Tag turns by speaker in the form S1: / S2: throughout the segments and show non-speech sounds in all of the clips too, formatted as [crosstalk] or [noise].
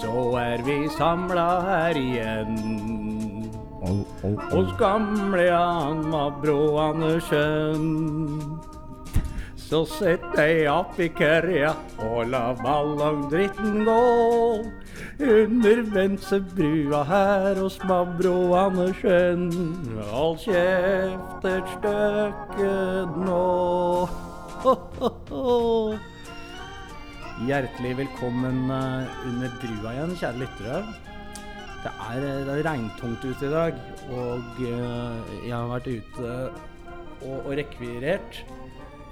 S1: så er vi samla her igjen.
S2: Au, au, au.
S1: Hos gamle Jan Mabro Andersen. Så sett deg opp i kørja og la ballongdritten gå. Under Vensebrua her hos Mabro Andersen. Hold kjeft et stykke nå. Ho, ho, ho. Hjertelig velkommen eh, under brua igjen, kjære lyttere. Det er, eh, det er regntungt ute i dag, og eh, jeg har vært ute og, og rekvirert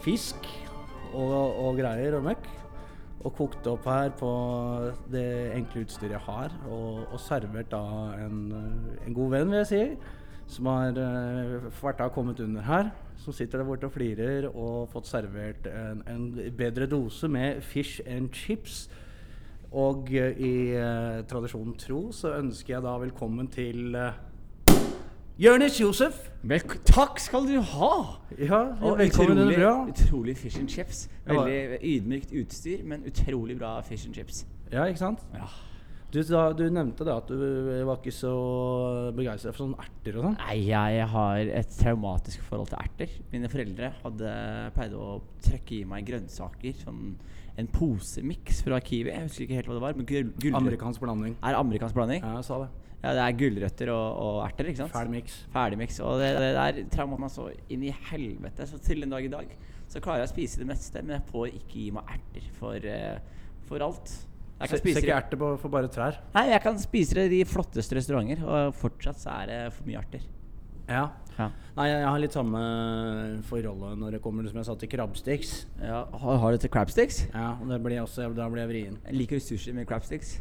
S1: fisk og, og greier og møkk. Og kokt opp her på det enkle utstyret jeg har, og, og servert da en, eh, en god venn, vil jeg si. Som har eh, vært da kommet under her. Som sitter der borte og flirer og fått servert en, en bedre dose med fish and chips. Og eh, i eh, tradisjonen tro så ønsker jeg da velkommen til eh, Jørnis Josef.
S2: Vel, takk skal du ha!
S1: Ja,
S2: Og
S1: velkommen under
S2: utrolig,
S1: brua.
S2: utrolig fish and chips.
S1: Ja.
S2: Veldig ydmykt utstyr, men utrolig bra fish and chips.
S1: Ja, ikke sant?
S2: Ja.
S1: Du, da, du nevnte da at du eh, var ikke så begeistra for sånne erter og sånn.
S2: Nei, jeg har et traumatisk forhold til erter. Mine foreldre hadde pleide å trekke i meg grønnsaker. Sånn en posemiks fra Kiwi. Jeg husker ikke helt hva det var. Men gul gulrø-
S1: Amerikansk blanding.
S2: Er det amerikansk blanding?
S1: Ja, jeg sa det.
S2: Ja, det er gulrøtter og, og erter, ikke sant?
S1: Fæl miks.
S2: Ferdigmiks. Og det, det der traumet meg så inn i helvete. Så til den dag i dag så klarer jeg å spise det meste, men jeg får ikke gi meg erter for, eh, for alt. Jeg
S1: Se
S2: kan,
S1: ser
S2: spise
S1: ikke
S2: det.
S1: erter på for bare trær.
S2: Nei, jeg kan spise det i de flotteste restauranter, og fortsatt så er det for mye erter.
S1: Ja.
S2: Ja.
S1: Nei, jeg har litt samme forholdet når det kommer som jeg sa til krabbesticks.
S2: har, har du til crabsticks?
S1: Ja, og det blir også, da blir jeg vrien.
S2: Liker du sushi med crabsticks?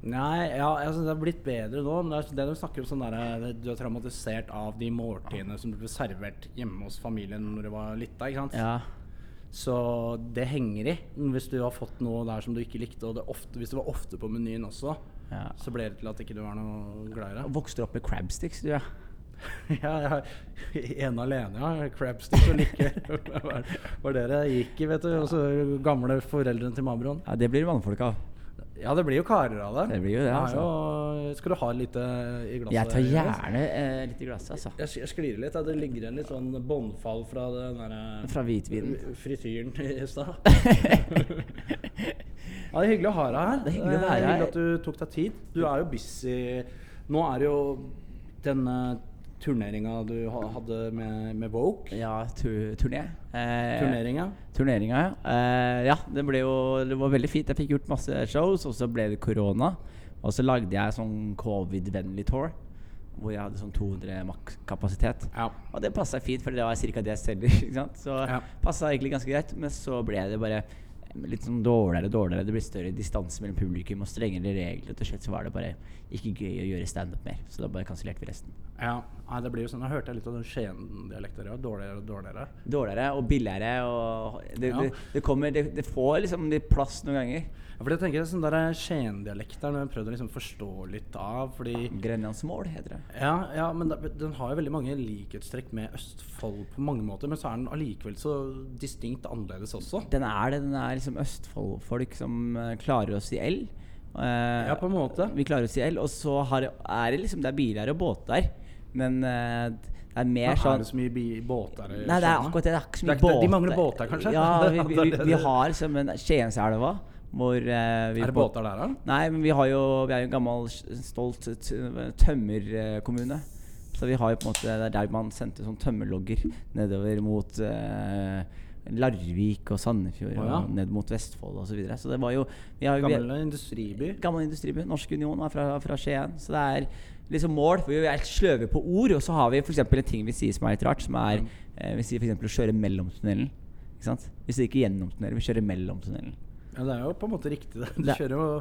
S1: Nei, ja, jeg synes det har blitt bedre nå. Men det, er, det de snakker om sånn der, eh, Du er traumatisert av de måltidene som ble servert hjemme hos familien når du var lita. ikke sant?
S2: Ja.
S1: Så det henger i. Hvis du har fått noe der som du ikke likte, og det ofte, hvis det var ofte på menyen også,
S2: ja.
S1: så ble det til at ikke du var noe glad i det. [laughs]
S2: Vokste opp med crabsticks, du, ja.
S1: Ja, jeg har [laughs] ene alene, ja. Crabsticks og like. [laughs] Var det det gikk i, vet du. Og så gamle foreldrene til Mabroen.
S2: ja. Det blir mannfolk av.
S1: Ja, det blir jo karer av det.
S2: Det blir jo det,
S1: Jeg har
S2: altså.
S1: jo- Skal du ha litt eh, i glasset?
S2: Jeg tar
S1: Jørgen?
S2: gjerne eh, litt i glasset, altså.
S1: Jeg, sk- jeg sklir litt. Ja. Det ligger igjen litt sånn båndfall fra den derre
S2: Fra hvitvinen.
S1: frityren i [laughs]
S2: [laughs]
S1: stad. ja, det er hyggelig å ha deg her.
S2: Det er hyggelig å være
S1: Eh,
S2: her.
S1: at du tok deg tid. Du er jo busy. Nå er det jo denne turneringa du ha- hadde med, med Woke.
S2: [laughs] Ja, tu turné. Eh,
S1: Turneringa.
S2: Turneringa, ja. Eh, ja det, ble jo, det var veldig fint. Jeg fikk gjort masse shows, og så ble det korona. Og så lagde jeg sånn covid-vennlig tour, hvor jeg hadde sånn 200 makskapasitet.
S1: Ja.
S2: Og det passa fint, for det var ca. det jeg selger. [laughs] Ikke sant? Så
S1: Ja.
S2: passa egentlig ganske greit. Men så ble det bare litt sånn dårligere og dårligere. Det ble større distanse mellom publikum og strengere regler. Og til slutt så var det bare ikke gøy å gjøre standup mer. Så da bare kansellerte vi resten.
S1: ja. Nei, det blir jo sånn. Nå hørte jeg litt av den Skien-dialekten der. Dårligere og dårligere.
S2: dårligere og billigere. Og det,
S1: Ja.
S2: det, det, kommer, det, det får liksom litt plass noen ganger.
S1: Ja, for jeg tenker sånn der Skien-dialekt der, når jeg prøvde å liksom forstå litt av, fordi
S2: Grenlandsmål heter det.
S1: Ja, ja men da- den har jo veldig mange likhetstrekk med Østfold på mange måter. Men så er den allikevel så distinkt annerledes også.
S2: Den er det. Den er liksom Østfoldfolk som eh, klarer å si L. Eh,
S1: Ja, på en måte.
S2: Vi klarer å si L. Og så har, er det liksom Det er biler og båter, men eh, det er mer
S1: Men er
S2: sånn
S1: det så mye bi- båter i
S2: Nei, det er
S1: Skien, da?
S2: akkurat det. Det er ikke så
S1: Det er ikke
S2: mye
S1: det-
S2: båter.
S1: de mangler båter, kanskje?
S2: Ja,
S1: [laughs] Det
S2: vi,
S1: er
S2: vi,
S1: det
S2: vi,
S1: det-
S2: vi har liksom en Skienselva hvor eh, vi
S1: Er det
S2: på-
S1: båter der, da?
S2: Nei, men vi, har jo, vi er jo en gammel, s- stolt t- tømmerkommune. Så vi har jo på en måte Det er der man sendte sånn tømmerlogger nedover mot eh, Larvik og Sandefjord
S1: Å, ja.
S2: og ned mot Vestfold osv. Så, videre. så det var jo vi har, jo- vi-
S1: Gammel industriby.
S2: Gammel industriby. Norsk Union er fra, fra Skien. Så det er liksom mål. For vi er helt sløve på ord. Og så har vi for eksempel en ting vi sier som er litt rart, som
S1: Mm.
S2: er eh, Vi sier for eksempel å kjøre mellom tunnelen. Ikke sant? Vi sier ikke gjennom tunnelen, vi kjører mellom tunnelen.
S1: Ja, det er jo på en måte riktig, det. Du
S2: Det-
S1: kjører jo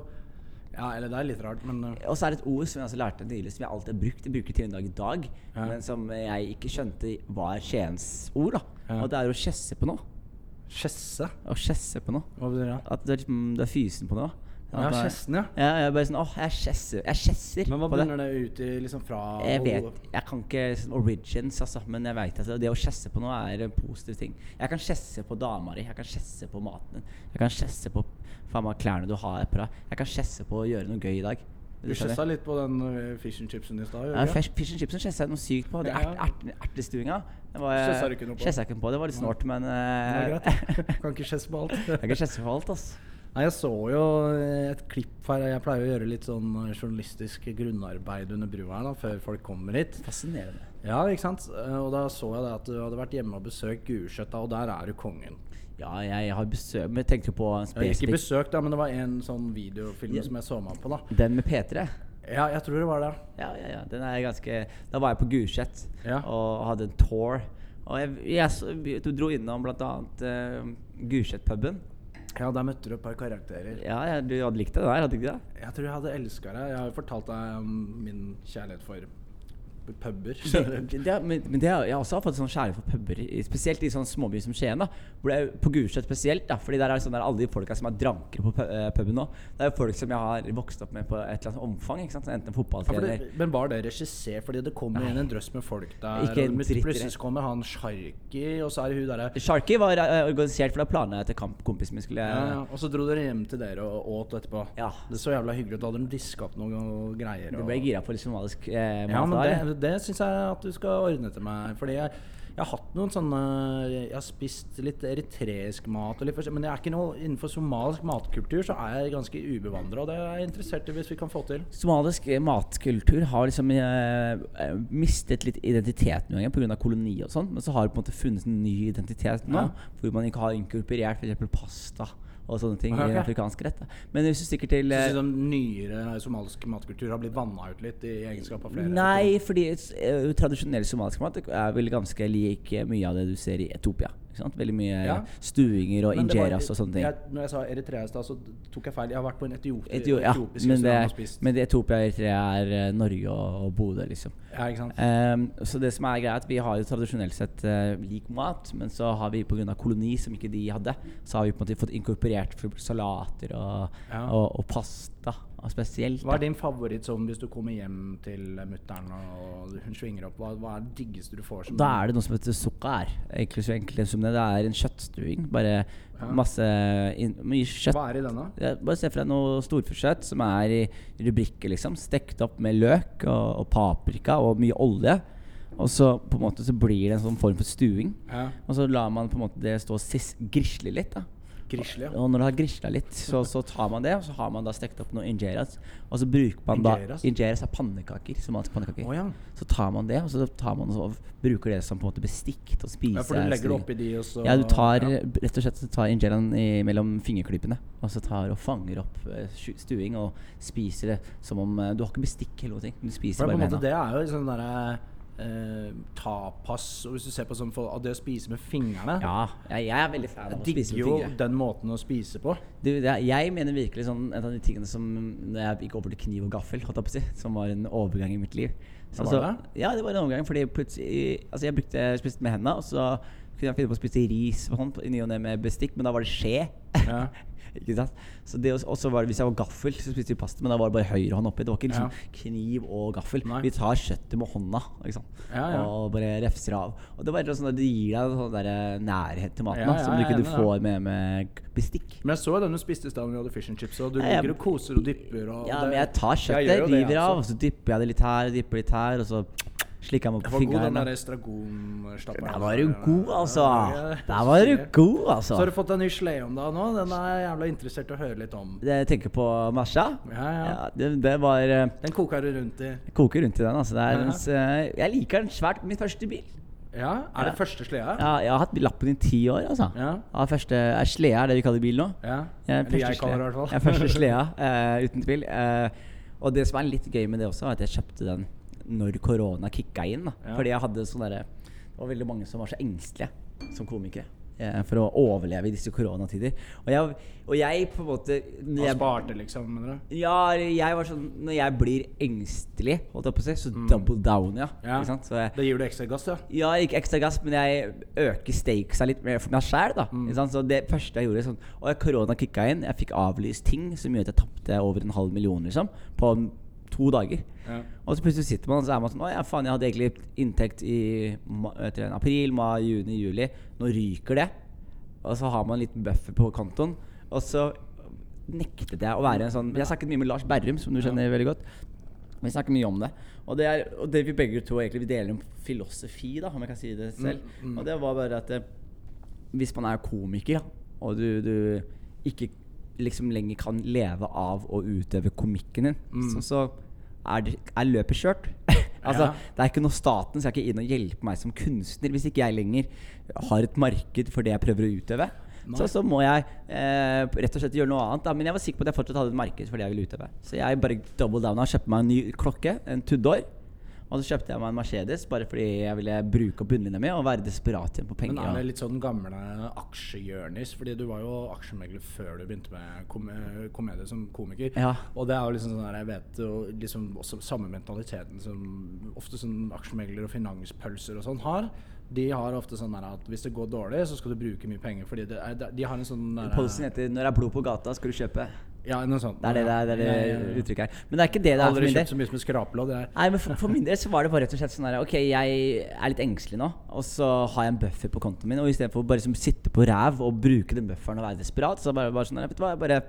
S1: Ja, eller det er litt rart, men uh,
S2: Og så er det et ord som jeg også lærte nylig, som jeg alltid har brukt. Jeg bruker til en dag i dag,
S1: Ja.
S2: men som jeg ikke skjønte var Skiens ord. da
S1: Ja.
S2: Og det er å kjesse på noe.
S1: Skjesse?
S2: Å kjesse på noe.
S1: Hva betyr det?
S2: At du er, liksom, du er fysen på noe.
S1: Ja, Skjessen, ja.
S2: Ja, jeg er bare sånn Åh, jeg skjesser, jeg skjesser
S1: Men hva
S2: på det.
S1: begynner det ut i liksom fra
S2: Jeg vet
S1: og-
S2: Jeg kan ikke sånn origins, altså, men jeg vet at det å skjesse på noe er en positiv ting. Jeg kan skjesse på dama di, jeg kan skjesse på maten din, jeg kan skjesse på faen meg klærne du har på deg, jeg kan skjesse på å gjøre noe gøy i dag.
S1: Du skjessa litt på den eh, fish and chipsen i stad. gjorde
S2: Ja,
S1: du ikke?
S2: fish, fish and chipsen skjessa jeg noe sykt på. Det er
S1: Ja.
S2: ert, ert, ertestuinga. Det var-
S1: Skjessa du ikke noe på?
S2: skjessa jeg ikke noe på. Det var litt snålt, men
S1: Det
S2: [laughs] eh,
S1: var greit. Kan ikke skjesse på
S2: Jeg
S1: alt.
S2: kan skjesse på alt, ass.
S1: Nei, Jeg så jo eh, et klipp her. Jeg pleier å gjøre litt sånn journalistisk grunnarbeid under brua her da, før folk kommer hit.
S2: Fascinerende.
S1: Ja, ikke sant? Eh, Og da så jeg det at du hadde vært hjemme og besøkt Gulsletta, og der er du kongen.
S2: Ja, jeg har besøk Men jeg tenkte jo på en
S1: Jeg har ikke
S2: spesifikk
S1: besøkt, da, men det var en sånn videofilm
S2: Ja.
S1: som jeg så meg på, da.
S2: Den med P3.
S1: Ja, jeg tror det var det.
S2: Ja, ja, ja. Den er ganske Da var jeg på Gulset
S1: Ja.
S2: og hadde en tour. Og jeg, jeg så, du dro innom bl.a. Uh, Gulset-puben.
S1: Ja, der møtte du et par karakterer.
S2: Ja, ja, du hadde likt det der, hadde du ikke det?
S1: Jeg tror jeg hadde elska deg. Jeg har jo fortalt deg om min kjærlighet for puber. skjønner
S2: [laughs]
S1: du.
S2: Det, det, er- men men det, er- jeg har også fått sånn kjærlighet for puber, i- spesielt i sånn småbyer som Skien. da Hvor det er, På Gulset spesielt, da Fordi der er det sånn der alle de folka som er drankere på pu- eh, puben nå. Det er jo folk som jeg har vokst opp med på et eller annet omfang. Ikke sant? Sånn Enten
S1: Ja, for
S2: fotballtrener
S1: det, men var det regissert? Fordi det kommer inn en drøss med folk der.
S2: Ikke en
S1: og
S2: dritt i det.
S1: plutselig så kommer han sjarki, og så er det hun der
S2: Sharky var eh, organisert, for da planla jeg etter kamp kompisen min skulle
S1: ja, ja. Og så dro dere hjem til dere og åt etterpå.
S2: Ja.
S1: Det så jævla hyggelig ut. Da hadde de diska opp noen greier.
S2: Du
S1: og-
S2: ble gira på litt somalisk eh,
S1: Ja,
S2: mat
S1: men
S2: der.
S1: det, det syns jeg at du skal ordne til meg. Fordi jeg, jeg har hatt noen sånne Jeg har spist litt eritreisk mat, og litt forskjell- men jeg er ikke noe innenfor somalisk matkultur så er jeg ganske ubevandra. Og det er jeg interessert i hvis vi kan få til.
S2: Somalisk eh, matkultur har liksom eh, eh, mistet litt identitet noen ganger pga. koloni og sånn, men så har det på en måte funnes en ny identitet nå,
S1: Ja.
S2: hvor man ikke har inkorporert f.eks. pasta og sånne ting
S1: Ok.
S2: i afrikansk rett. da. Men hvis du stikker til
S1: Så
S2: eh,
S1: synes jeg sånn nyere somalisk matkultur har blitt vanna ut litt i egenskap av flere
S2: Nei, fordi eh, tradisjonell somalisk mat er vel ganske lik eh, mye av det du ser i Etopia. Ikke sant? Veldig mye
S1: Ja.
S2: stuinger og
S1: Men det var-
S2: injeras og sånne ting.
S1: Jeg, når jeg sa Eritrea i stad, så tok jeg feil. Jeg har vært på en etiopi,
S2: Etio ja,
S1: etiopisk
S2: men det,
S1: restaurant og spist.
S2: men det Etopia og Eritrea er eh, Norge og, og Bodø, liksom.
S1: ja, ikke sant?
S2: Ehm, så det som er greia er at Vi har jo tradisjonelt sett eh, lik mat, men så har vi pga. koloni, som ikke de hadde, så har vi på en måte fått inkorporert for eksempel salater og,
S1: Ja.
S2: og, og pasta og spesielt.
S1: Hva er
S2: da.
S1: din favoritt sånn hvis du kommer hjem til mutter'n og hun svinger opp? Hva, hva er det diggeste du får? som-
S2: Da er det noe som heter sukkar. Egentlig så enkelt som det. Det er en kjøttstuing. Bare
S1: Ja.
S2: masse inn- Mye kjøtt.
S1: Hva er i denne?
S2: Ja, Bare se for deg noe storfekjøtt som er i rubrikker, liksom. Stekt opp med løk og, og paprika og mye olje. Og så på en måte så blir det en sånn form for stuing.
S1: Ja.
S2: Og så lar man på en måte det stå og sis- grisle litt. da
S1: Grisle, ja.
S2: Og når det har grisla litt, så, så tar man det, og så har man da stekt opp noe injeras. Og så bruker man
S1: Injeras?
S2: da Injeras er pannekaker. Somaliske pannekaker.
S1: Å ja.
S2: Så tar man det, og så tar man og bruker det som på en måte bestikk til å spise.
S1: ja. For du legger det
S2: stilling.
S1: oppi de, og så
S2: Ja, du tar
S1: ja.
S2: rett og slett så tar injeraen i- mellom fingerklippene. Og så tar og fanger opp eh, sju- stuing og spiser det som om eh, Du har ikke bestikk eller noe. ting, Du
S1: For det, er
S2: spiser
S1: på
S2: bare
S1: en
S2: med
S1: måte,
S2: hendene.
S1: det er jo sånn derre eh, tapas og Hvis du ser på sånn for, at det å spise med fingrene
S2: Ja, jeg, jeg er veldig fan av å
S1: Jeg
S2: spise
S1: digger
S2: med
S1: jo
S2: fingre.
S1: den måten å spise på.
S2: Du, det er, jeg mener virkelig sånn En av de tingene som Når jeg gikk over til kniv og gaffel, holdt jeg på å si, som var en overgang i mitt liv.
S1: Ja, var
S2: det? Ja, det var en overgang, fordi plutselig Altså, jeg brukte spiste med hendene, og så kunne jeg finne på å spise ris og sånn på- i ny og ne med bestikk, men da var det skje.
S1: Ja.
S2: [laughs] ikke sant? Så det, også- og så var det, Hvis jeg var gaffel, så spiste vi pasta, men da var det bare høyrehånd oppi. Det var ikke liksom kniv og gaffel.
S1: Nei.
S2: Vi tar kjøttet med hånda ikke sant?
S1: Ja, ja.
S2: og bare refser av. Og det var sånn at det gir deg en sånn der nærhet til maten
S1: Ja,
S2: da,
S1: ja,
S2: som
S1: jeg
S2: du
S1: er
S2: ikke du
S1: enig, da.
S2: får med, med bestikk.
S1: Men jeg så jo den du spiste i stad når du hadde fish and chips, og du
S2: Ja, jeg-
S1: ligger og koser og dypper og
S2: Ja,
S1: det-
S2: men jeg tar kjøttet,
S1: gjør jo det,
S2: river
S1: altså.
S2: av, og så dypper jeg det litt her, dypper litt her, og så slikker jeg meg
S1: Det
S2: på
S1: var god, den
S2: fingeren.
S1: der estragonstappa.
S2: Der var du god, altså!
S1: Ja, ja.
S2: Der var du god,
S1: Så har du
S2: altså!
S1: fått en ny slede om deg nå. Den er jeg jævla interessert i å høre litt om.
S2: Det Jeg tenker på Masha.
S1: Ja, ja.
S2: det, det var eh,
S1: Den koker du rundt i.
S2: jeg Koker rundt i den, altså. Det er,
S1: Ja.
S2: en s- eh, jeg liker den svært. Min første bil.
S1: Ja, Er det første sleda?
S2: Ja, jeg har hatt lappen i ti år, altså.
S1: Ja.
S2: Ja, første, er Slea er det vi kaller bil nå?
S1: Ja.
S2: Jeg er
S1: Eller jeg
S2: første
S1: kaller det i
S2: slea.
S1: hvert
S2: Jeg er
S1: fall. [laughs]
S2: første slea, eh, uten tvil. Eh, og det som er litt gøy med det også, er at jeg kjøpte den når korona kicka inn. Da.
S1: Ja.
S2: Fordi jeg hadde sånn derre Det var veldig mange som var så engstelige som komikere. eh, for å overleve i disse koronatider. Og jeg, og jeg på en måte når
S1: Han
S2: jeg,
S1: sparte, liksom, mener du?
S2: ja, jeg var sånn Når jeg blir engstelig, holdt jeg på å si, så double down, ja.
S1: Mm. Ja.
S2: Ikke sant? Så jeg,
S1: Da gir du ekstra gass, ja.
S2: ja, ikke ekstra gass, men jeg øker stakesa litt mer for meg sjæl. da. Ikke sant? Så det første jeg gjorde sånn, Og korona kicka inn. Jeg fikk avlyst ting som gjorde at jeg tapte over en halv million liksom, på n- to dager.
S1: ja.
S2: Og så plutselig sitter man og så er man sånn Å ja, faen, jeg hadde egentlig inntekt i ma- etter en april, mai, juni, juli. Nå ryker det. Og så har man en liten buffer på kontoen. Og så nektet jeg å være en sånn Jeg har snakket mye med Lars Berrum, som du kjenner veldig godt. Vi snakker mye om det. Og det, er, og det vi begge to egentlig vi deler en filosofi, da, om jeg kan si det selv. Og det var bare at eh, hvis man er komiker, da, og du, du ikke liksom lenger kan leve av å utøve komikken din, så, så er, det, er løpet kjørt. [laughs] altså,
S1: Ja.
S2: Det er ikke noe staten skal ikke inn og hjelpe meg som kunstner hvis ikke jeg lenger har et marked for det jeg prøver å utøve. Så, så må jeg eh, rett og slett gjøre noe annet. Da. Men jeg var sikker på at jeg fortsatt hadde et marked for det jeg ville utøve. Så jeg bare double downa og kjøpte meg en ny klokke, en Tudor. Og så kjøpte jeg meg en Mercedes bare fordi jeg ville bruke opp bunnlinja mi og være desperat igjen på penger.
S1: Men er
S2: og-
S1: det litt sånn gamle aksjegjørnis? Fordi du var jo aksjemegler før du begynte med kom eh, komedie som komiker.
S2: Ja.
S1: Og det er jo liksom sånn der, jeg vet jo liksom også samme mentaliteten som ofte sånn aksjemeglere og finanspølser og sånn har. De har ofte sånn der at hvis det går dårlig, så skal du bruke mye penger. Fordi det er, de har en sånn der,
S2: Policyen heter 'Når det er blod på gata, skal du kjøpe'.
S1: Ja, noe sånt.
S2: Det er det, det, er, det, er, det
S1: Ja, ja, ja.
S2: uttrykket er. Men det er ikke det det er for
S1: Aldri
S2: min
S1: kjøpt
S2: del. Ah,
S1: så mye som et skrapelodd. jeg.
S2: Nei, men for, for min del så var det bare rett og slett sånn her Ok, jeg er litt engstelig nå, og så har jeg en buffer på kontoen min. Og istedenfor å bare liksom sitte på ræv og bruke den bufferen og være desperat, så bare, bare sånn her, Vet du hva, jeg bare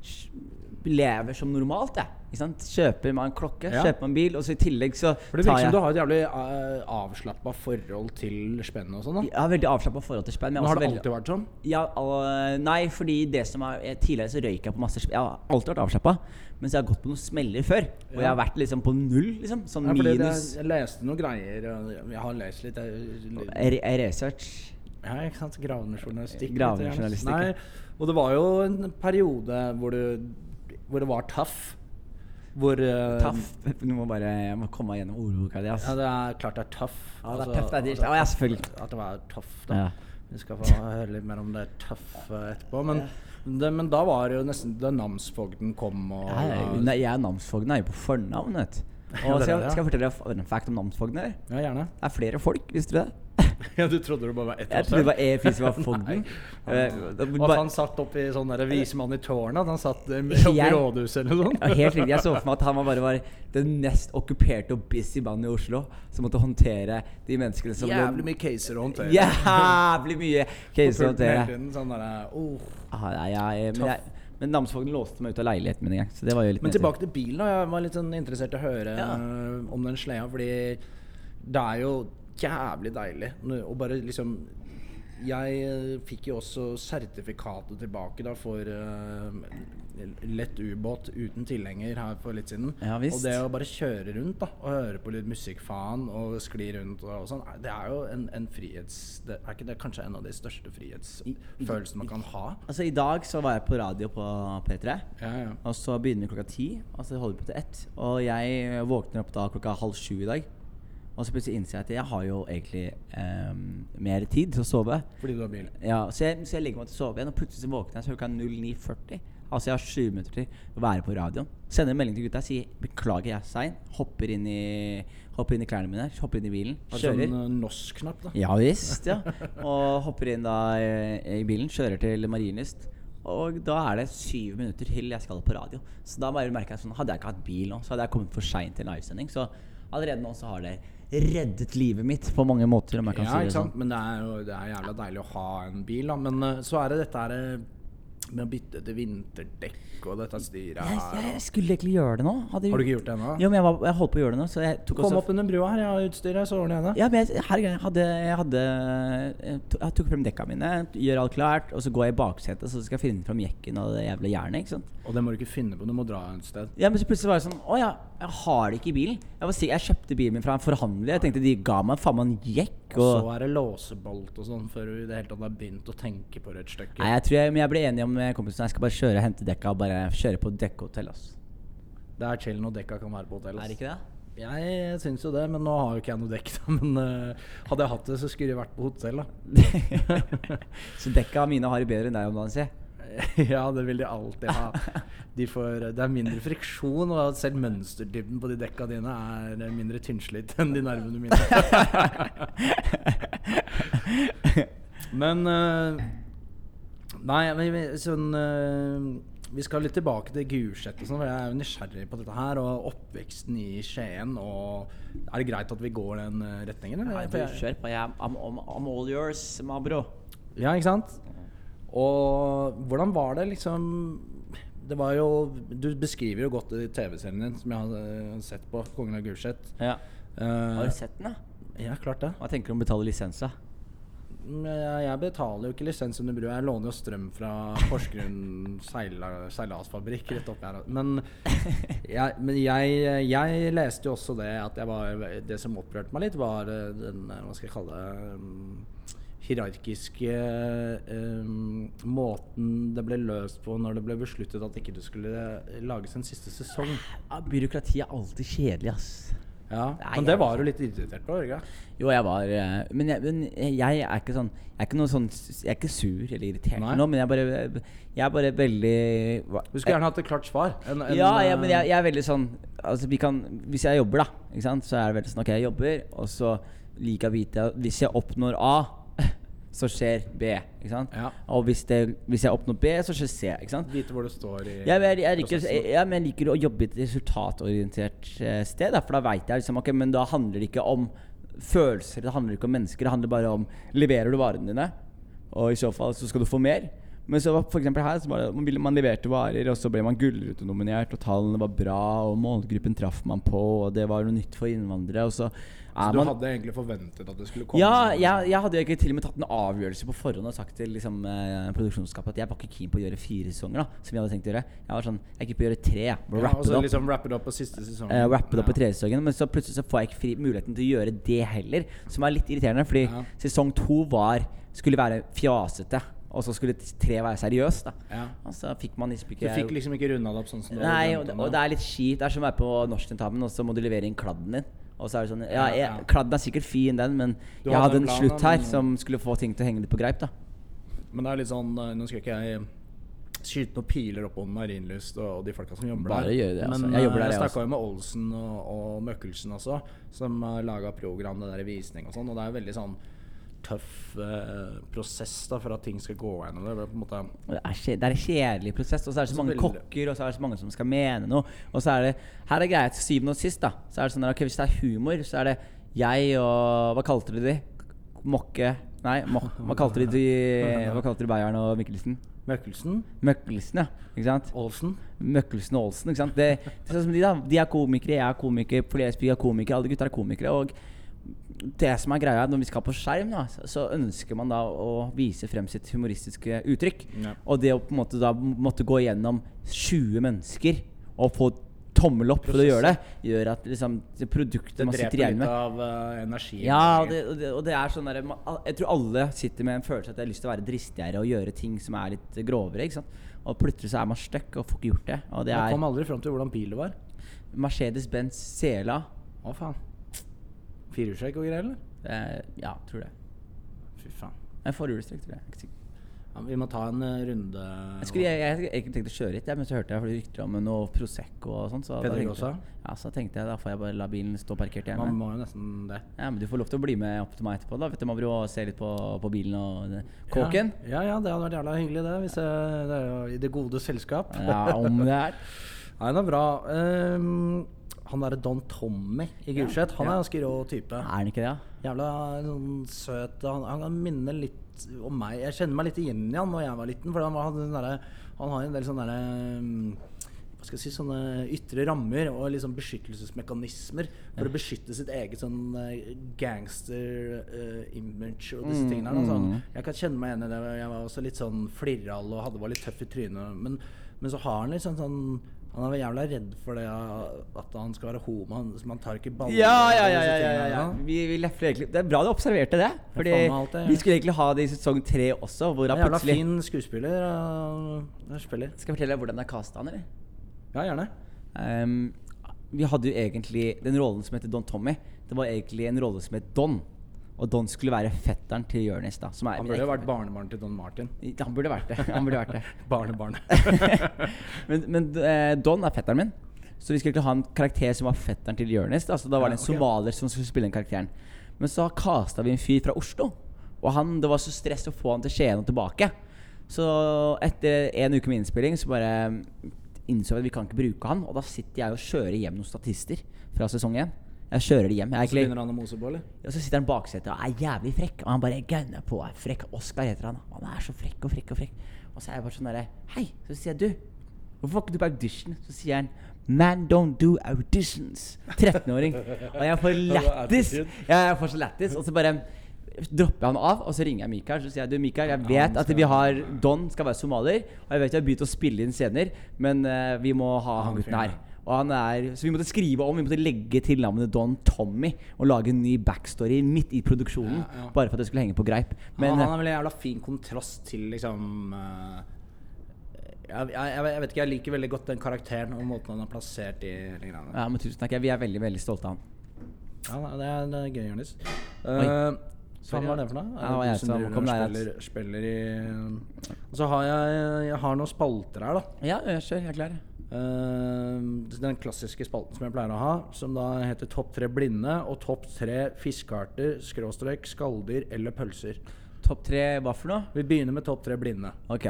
S2: sj- lever som normalt, jeg. Ikke sant? Kjøper meg en klokke,
S1: Ja.
S2: kjøper meg en bil, og så i tillegg så
S1: For det virker som du har et jævlig uh, avslappa forhold til spennet og sånn. da.
S2: Jeg har veldig avslappa forhold til spenn. men jeg
S1: Men
S2: er
S1: har det
S2: også altså, veldig-
S1: alltid vært sånn?
S2: Ja, al- nei, fordi det som er jeg- Tidligere så røyk jeg på masse sp- Jeg har alltid vært avslappa, mens jeg har gått på noen smeller før. Og jeg har vært liksom på null, liksom. Sånn
S1: Nei, fordi det,
S2: minus
S1: jeg leste noen greier. og Jeg har lest litt. Jeg,
S2: re research.
S1: Ja, ikke sant. Gravejournalistikk.
S2: Gravejournalistikk, ja.
S1: Nei, og det var jo en periode hvor, du, hvor det var tøff. Hvor eh,
S2: Taff. [laughs] Du må bare jeg må komme meg gjennom ordboka di, ass.
S1: Ja, det er klart det er tøff.
S2: Ja, det er tøft, det er dritt. Ja, ja, selvfølgelig.
S1: At det var tøff, da.
S2: Ja.
S1: Vi skal få høre litt mer om det tøffe etterpå. Men, det, men da var det jo nesten da namsfogden kom og
S2: Ja, ja, ja. Nei, jeg er namsfogden, jeg er jo på fornavn, vet du.
S1: Ja,
S2: Og
S1: det er
S2: skal,
S1: det, ja.
S2: skal jeg fortelle dere en fact om namsfogden? eller?
S1: Ja, gjerne. [laughs]
S2: Det er flere folk, visste du det?
S1: Ja, du trodde det bare var ett
S2: Jeg trodde det var E4 som var
S1: [laughs]
S2: fogden. Eh,
S1: Og at han satt oppi sånn der vismann i tårnet? At han satt eh,
S2: Ikke
S1: oppi
S2: jeg.
S1: rådhuset eller noe
S2: [laughs] Ja,
S1: sånt?
S2: helt riktig. Jeg så for meg at han var bare var den nest okkuperte og busy mannen i Oslo som måtte håndtere de menneskene som
S1: Jævlig mye caser å håndtere.
S2: Jævlig mye caser å håndtere.
S1: Sånn der, oh.
S2: Ah, nei, jeg, men jeg, men namsfogden låste meg ut av leiligheten min en gang. Så det var jo litt
S1: Men
S2: nedtur.
S1: tilbake til bilen. da. Jeg var litt sånn interessert i å høre
S2: Ja.
S1: øh, om den sleda. Fordi det er jo jævlig deilig nå- å bare liksom Jeg øh, fikk jo også sertifikatet tilbake da for øh, lett ubåt uten tilhenger her for litt siden.
S2: Ja, visst.
S1: Og det å bare kjøre rundt da og høre på litt musikkfaen og skli rundt og sånn, det er jo en, en frihets... Det er ikke det kanskje en av de største frihetsfølelsene man kan ha?
S2: Altså, I dag så var jeg på radio på P3.
S1: Ja, ja.
S2: Og så begynner vi klokka ti, og så holder vi på til ett. Og jeg våkner opp da klokka halv sju i dag. Og så plutselig innser jeg at jeg har jo egentlig ehm, mer tid til å sove.
S1: Fordi du har bil.
S2: Ja, så jeg, så jeg legger meg til å sove igjen, og plutselig så våkner jeg så er klokka 09.40. Altså jeg har 20 minutter til å være på radioen. Sender en melding til gutta og sier 'beklager, jeg er sein'. Hopper, inn i- hopper inn i klærne mine, hopper inn i bilen,
S1: Har du sånn
S2: kjører.
S1: øh, NOS-knapp, da?
S2: Ja visst, ja. Og hopper inn da eh, i bilen, kjører til Marienlyst. Og da er det syv minutter til jeg skal på radio. Så da bare merker jeg sånn Hadde jeg ikke hatt bil nå, så hadde jeg kommet for seint til en livesending. Så allerede nå så har det reddet livet mitt på mange måter, om jeg
S1: Ja,
S2: kan si
S1: ikke
S2: det sånn.
S1: sant? Men det er jo det er jævla deilig å ha en bil, da. Men eh, så er det dette her eh, med å bytte til vinterdekk og dette styret
S2: Jeg,
S1: her.
S2: jeg,
S1: og-
S2: skulle egentlig gjøre det nå. Hadde
S1: Har du ikke gjort det ennå?
S2: Jo, men jeg, var, jeg holdt på å gjøre det nå, så jeg tok
S1: Kom
S2: også
S1: opp under brua her, jeg har utstyret, så ordner jeg det.
S2: ja, men jeg, herregud, jeg hadde, jeg hadde jeg to- Jeg tok frem dekka mine, gjør alt klart, og så går jeg i baksetet, så skal jeg finne fram jekken og det jævla jernet. ikke sant?
S1: Og det må du ikke finne på, du må dra et sted.
S2: Ja, Men så plutselig var det sånn Å ja, jeg har det ikke i bilen. Jeg, var sikker, jeg kjøpte bilen min fra en forhandler. Jeg tenkte de ga meg faen meg en jekk.
S1: Og
S2: Og,
S1: så er det låsebolt og sånn før du i det hele tatt har begynt å tenke på det et stykke.
S2: nei, jeg tror jeg, men jeg ble enig om med kompisen jeg skal bare kjøre og hente dekka og bare kjøre på dekkhotell. ass.
S1: Det er chill når dekka kan være på hotell.
S2: Er
S1: ass.
S2: det ikke det?
S1: Jeg syns jo det, men nå har jo ikke jeg noe dekk. da [laughs] Men eh, hadde jeg hatt det, så skulle jeg vært på hotell, da.
S2: [laughs] Så dekka mine har det bedre enn deg om dagen, si.
S1: [laughs] ja, det vil de alltid ha. De får, det er mindre friksjon, og selv mønsterdybden på de dekka dine er mindre tynnslitt enn de nervene
S2: [laughs]
S1: mine. men eh, Nei, men vi- sånn eh, Vi skal litt tilbake til Gulset og sånn, for jeg er jo nysgjerrig på dette her. Og oppveksten i Skien, og Er det greit at vi går den eh, retningen, eller?
S2: [laughs] Nei,
S1: For
S2: du,
S1: jeg-
S2: kjør på. Jeg, er- I'm, I'm, I'm all yours, mabro.
S1: Ja, ikke sant? Og hvordan var det liksom Det var jo Du beskriver jo godt i TV-serien din som jeg har eh, sett på, 'Kongen av Gulset'.
S2: Ja.
S1: Eh,
S2: Har du sett den, da?
S1: Ja, klart det.
S2: Hva tenker du om å betale lisens, da?
S1: Men Jeg jeg betaler jo ikke lisens under brua. Jeg låner jo strøm fra Porsgrunn seila- seilasfabrikk rett opp her. Men, jeg, men jeg, jeg leste jo også det at jeg var, det som opprørte meg litt, var eh, den eh, hva skal jeg kalle det mm, hierarkiske eh, måten det ble løst på når det ble besluttet at ikke det skulle lages en siste sesong.
S2: Ja, byråkrati er alltid kjedelig, ass.
S1: Ja,
S2: Nei,
S1: Men
S2: jeg-
S1: det var du litt irritert på, Jørgen.
S2: Jo, jeg var eh, Men jeg, men jeg er ikke sånn Jeg er ikke noe sånn Jeg er ikke sur eller irritert
S1: Nei.
S2: eller noe, men jeg er bare Jeg er bare veldig
S1: Du skulle gjerne hatt et klart svar. En, en,
S2: ja,
S1: eh,
S2: ja, men jeg, jeg er veldig sånn altså vi kan, Hvis jeg jobber, da, ikke sant? så er det veldig sånn OK, jeg jobber, og så liker jeg å vite at hvis jeg oppnår A, [laughs] så skjer B. Ikke sant?
S1: Ja.
S2: Og hvis, det, hvis jeg oppnår B, så skjer C. Ikke sant?
S1: Vite hvor du står i
S2: Jeg, jeg, jeg, liker,
S1: prosessen.
S2: jeg, ja, men jeg liker å jobbe i et resultatorientert eh, sted, da, for da veit jeg liksom Ok, men da handler det ikke om følelser, det handler ikke om mennesker, det handler bare om Leverer du varene dine? Og i så fall så skal du få mer. Men så var for eksempel her så var det, man, ville- man leverte varer, og så ble man Gullruten-nominert, og tallene var bra, og målgruppen traff man på, og det var noe nytt for innvandrere, og så
S1: Så
S2: er
S1: du
S2: man
S1: hadde egentlig forventet at det skulle komme?
S2: ja, jeg, jeg hadde jo ikke til og med tatt en avgjørelse på forhånd og sagt til liksom, eh, produksjonsskapet at jeg var ikke keen på å gjøre fire sesonger. da Som jeg hadde tenkt å gjøre. Jeg var sånn, jeg er keen på å gjøre tre. jeg. Bare
S1: Ja,
S2: wrappe
S1: og så
S2: det opp.
S1: liksom wrappe det opp på siste sesongen.
S2: Eh, wrappe det opp i
S1: Ja.
S2: tredje sesongen. Men så plutselig så får jeg ikke fri, muligheten til å gjøre det heller. Som er litt irriterende, fordi
S1: Ja.
S2: sesong to var, skulle være fjasete. Og så skulle tre være seriøs. da
S1: Ja.
S2: Og så fikk man liksom
S1: Du
S2: ikke
S1: fikk liksom ikke runda det opp sånn som du
S2: Nei, og,
S1: hadde drømt om
S2: og det er litt kjipt. Det er som å være på norsktentamen, og så må du levere inn kladden din. Og så er det sånn Ja,
S1: Ja,
S2: jeg,
S1: ja.
S2: kladden er sikkert fin, den, men
S1: Du
S2: jeg
S1: hadde en
S2: hadde en
S1: plan,
S2: slutt
S1: da,
S2: her
S1: men-
S2: som skulle få ting til å henge det på greip, da.
S1: Men det er litt sånn eh, Nå skal ikke jeg skyte noen piler opp om Marienlyst og og de folka som jobber
S2: Bare
S1: der.
S2: gjør det, altså.
S1: Men
S2: Jeg
S1: eh,
S2: jobber der,
S1: jeg
S2: jeg også.
S1: snakka jo med Olsen og, og Møkkelsen også, som har laga program, det der i visning og sånn. Og det er jo veldig sånn tøff eh, prosess da for at ting skal gå gjennom det. Det er på en måte
S2: Og Det er, kje- det er en kjedelig prosess, og så er det så
S1: Så
S2: mange
S1: veldig-
S2: kokker, og så er det så mange som skal mene noe. Og så er det Her er greia til syvende og sist, da. Så er det sånn der, ok, Hvis det er humor, så er det jeg og Hva kalte dere de? Mokke Nei, Mok, hva kalte dere de
S1: [laughs]
S2: Hva kalte dere Beiarn og Mikkelsen?
S1: Møkkelsen,
S2: Møkkelsen, ja. Ikke sant?
S1: Olsen
S2: Møkkelsen og Olsen. ikke sant? Det, det er sånn som de, da. de er komikere, jeg er komiker, Flesby er komiker, alle gutta er komikere. Og det som er greia, er at når vi skal på skjerm, da, så- så ønsker man da å vise frem sitt humoristiske uttrykk.
S1: Ja.
S2: Og det å på en måte da måtte gå gjennom 20 mennesker og få tommel opp for å gjøre det, gjør at liksom, det produktet
S1: Det
S2: man sitter
S1: dreper litt
S2: igjen med
S1: av eh, energien.
S2: ja, og det, og det, og det er sånn der, man- al- Jeg tror alle sitter med en følelse at jeg har lyst til å være dristigere og gjøre ting som er litt grovere. ikke sant? Og plutselig så er man stuck og får ikke gjort det. Og det
S1: Jeg kom
S2: er
S1: aldri fram til hvordan pil det var.
S2: Mercedes-Benz Sela.
S1: Å, faen. Firehjulstrekk og greier, eller?
S2: Eh, ja, tror det.
S1: Fy faen.
S2: Nei, forhjulstrekk, tror jeg. Jeg er ikke sikker.
S1: Ja, vi må ta en eh, runde.
S2: Jeg skulle jeg, jeg, jeg tenkte å kjøre hit, jeg, men så hørte jeg fordi rykter om noe Prosecco og sånn. Så, da tenkte
S1: Pedregosa?
S2: jeg- ja, så tenkte jeg da får jeg bare la bilen stå parkert hjemme.
S1: Man må jo nesten det.
S2: Ja, men Du får lov til å bli med opp til meg etterpå, da, vet du, Mabro, og se litt på, på bilen og det- kåken.
S1: Ja, ja, ja, det hadde vært jævla hyggelig, det. Hvis jeg, det er jo i det gode selskap.
S2: Ja, om det er.
S1: [laughs] Nei, det er bra. Ehm, han derre Don Tommy i Gulset, han er
S2: ja.
S1: ganske rå type.
S2: Er den ikke det, da?
S1: Jævla sånn søt. Han, han minner litt om meg. Jeg kjenner meg litt igjen i han da jeg var liten. For han, var, han, den derre- han har en del sånne derre mm, hva skal jeg si, sånne ytre rammer og liksom beskyttelsesmekanismer for å beskytte sitt eget sånn eh, gangster eh, image og
S2: Mm,
S1: disse tingene. her, da. Så han- jeg kan kjenne meg igjen i det. Jeg var også litt sånn flirral og hadde, var litt tøff i trynet. Men, men så har han litt sånn sånn Han er vel jævla redd for det at han skal være homo. Han, så man tar ikke baller
S2: Ja, ja,
S1: og disse
S2: ja. ja, ja,
S1: tingene
S2: ja,
S1: her,
S2: ja.
S1: da.
S2: Vi, vi lefler egentlig Det er bra du observerte det. Fordi
S1: faen meg alt det, ja.
S2: vi skulle egentlig ha det i sesong tre også, hvor
S1: Ja,
S2: han
S1: jævla
S2: plutselig
S1: fin skuespiller. ja, ja, spiller.
S2: Skal jeg fortelle deg hvordan det er casta han, eller?
S1: Ja, gjerne.
S2: Ehm, Vi hadde jo egentlig den rollen som heter Don Tommy. Det var egentlig en rolle som het Don. Og Don skulle være fetteren til Jonis. da, som er
S1: Han burde jo vært barnebarn til Don Martin.
S2: Han burde vært det. Han burde
S1: [laughs]
S2: vært det.
S1: Barnebarn.
S2: [laughs] men men eh, Don er fetteren min. Så vi skulle egentlig ha en karakter som var fetteren til Jonis. altså, Da. Så da var
S1: Ja,
S2: det en
S1: ok.
S2: somalier som skulle spille den karakteren. Men så kasta vi en fyr fra Oslo. Og han, det var så stress å få han til Skien og tilbake. Så etter en uke med innspilling så bare mm, innså jeg at vi kan ikke bruke han. Og da sitter jeg og kjører hjem noen statister fra sesong én. Jeg kjører de hjem. Jeg er
S1: Så
S2: egentlig-
S1: begynner han å mose på, eller?
S2: og så sitter han baksetet og er jævlig frekk. Og han bare gønner på. Er frekk. Oskar heter han. Og han er så frekk og frekk og frekk. Og så er jeg bare sånn derre Hei! Så sier jeg, du, hvorfor var ikke du på audition? Så sier han Man don't do auditions. 13-åring. Og jeg
S1: [laughs]
S2: får lættis.
S1: Attitude.
S2: Ja, jeg får så lættis. Og så bare dropper jeg han av, og så ringer jeg Mikael. Så sier jeg du, Mikael, jeg
S1: Ja, han
S2: vet at
S1: skal-
S2: vi har Don skal være somalier, og jeg vet vi har begynt å spille inn scener, men eh, vi må ha han gutten her. Og han er, så vi måtte skrive om, vi måtte legge til navnet Don Tommy og lage en ny backstory midt i produksjonen.
S1: Ja, ja.
S2: Bare for at det skulle henge på greip. Men
S1: han,
S2: eh,
S1: han er vel en jævla fin kontrast til liksom eh, jeg, jeg, jeg vet ikke, jeg liker veldig godt den karakteren og måten han er plassert i hele greiene.
S2: eh, ja, men tusen takk, jeg- vi er veldig veldig stolte av han.
S1: Ja, det er, det er gøy, Jonis. Eh,
S2: Oi.
S1: Hva var det for noe?
S2: Ja, det var jeg
S1: Tusen
S2: som
S1: druer
S2: kom der,
S1: spiller, spiller i Og så har jeg, jeg har noen spalter her, da.
S2: Ja, jeg kjør, jeg er klar.
S1: Eh, den klassiske spalten som jeg pleier å ha, som da heter Topp tre blinde og Topp tre fiskearter, skråstrek, skalldyr eller pølser.
S2: Topp tre hva for noe?
S1: Vi begynner med topp tre blinde.
S2: Ok.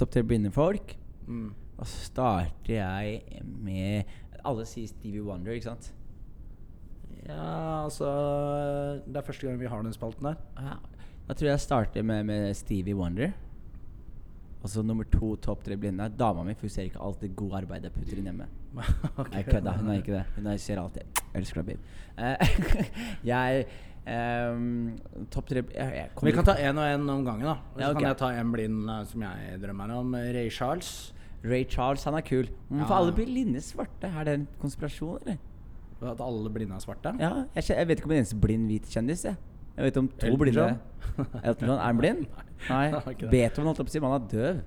S2: Topp tre blinde folk.
S1: Mm.
S2: Da starter jeg med Alle sier Stevie Wonder, ikke sant?
S1: Ja, altså Det er første gang vi har den spalten her. [laughs]
S2: Ja. Da tror jeg jeg starter med, med Stevie Wonder. Og så nummer to, topp tre blinde. Dama mi fokuserer ikke alltid god arbeid jeg putter inn hjemme.
S1: Ok.
S2: Jeg kødda, hun er ikke det. Hun er- ser alltid Elsker deg, babe. Eh, [laughs] jeg ehm, Topp tre jeg, jeg kommer
S1: Vi kan ta én og én om gangen, da. Og Så
S2: Ja, ok.
S1: kan jeg ta en blind eh, som jeg drømmer om. Ray Charles.
S2: ikke- Ray Charles, han er kul. Hvorfor
S1: Ja.
S2: alle blir linje svarte? Er det en konspirasjon, eller?
S1: At alle blinde er svarte.
S2: Ja, jeg, kje- jeg vet ikke om en eneste blind hvit kjendis, jeg. Jeg vet om to
S1: Elton
S2: blinde
S1: John?
S2: [laughs] Elton John, er han
S1: [laughs]
S2: blind? Nei.
S1: han er ikke det.
S2: Beethoven holdt jeg på å si, men han er døv.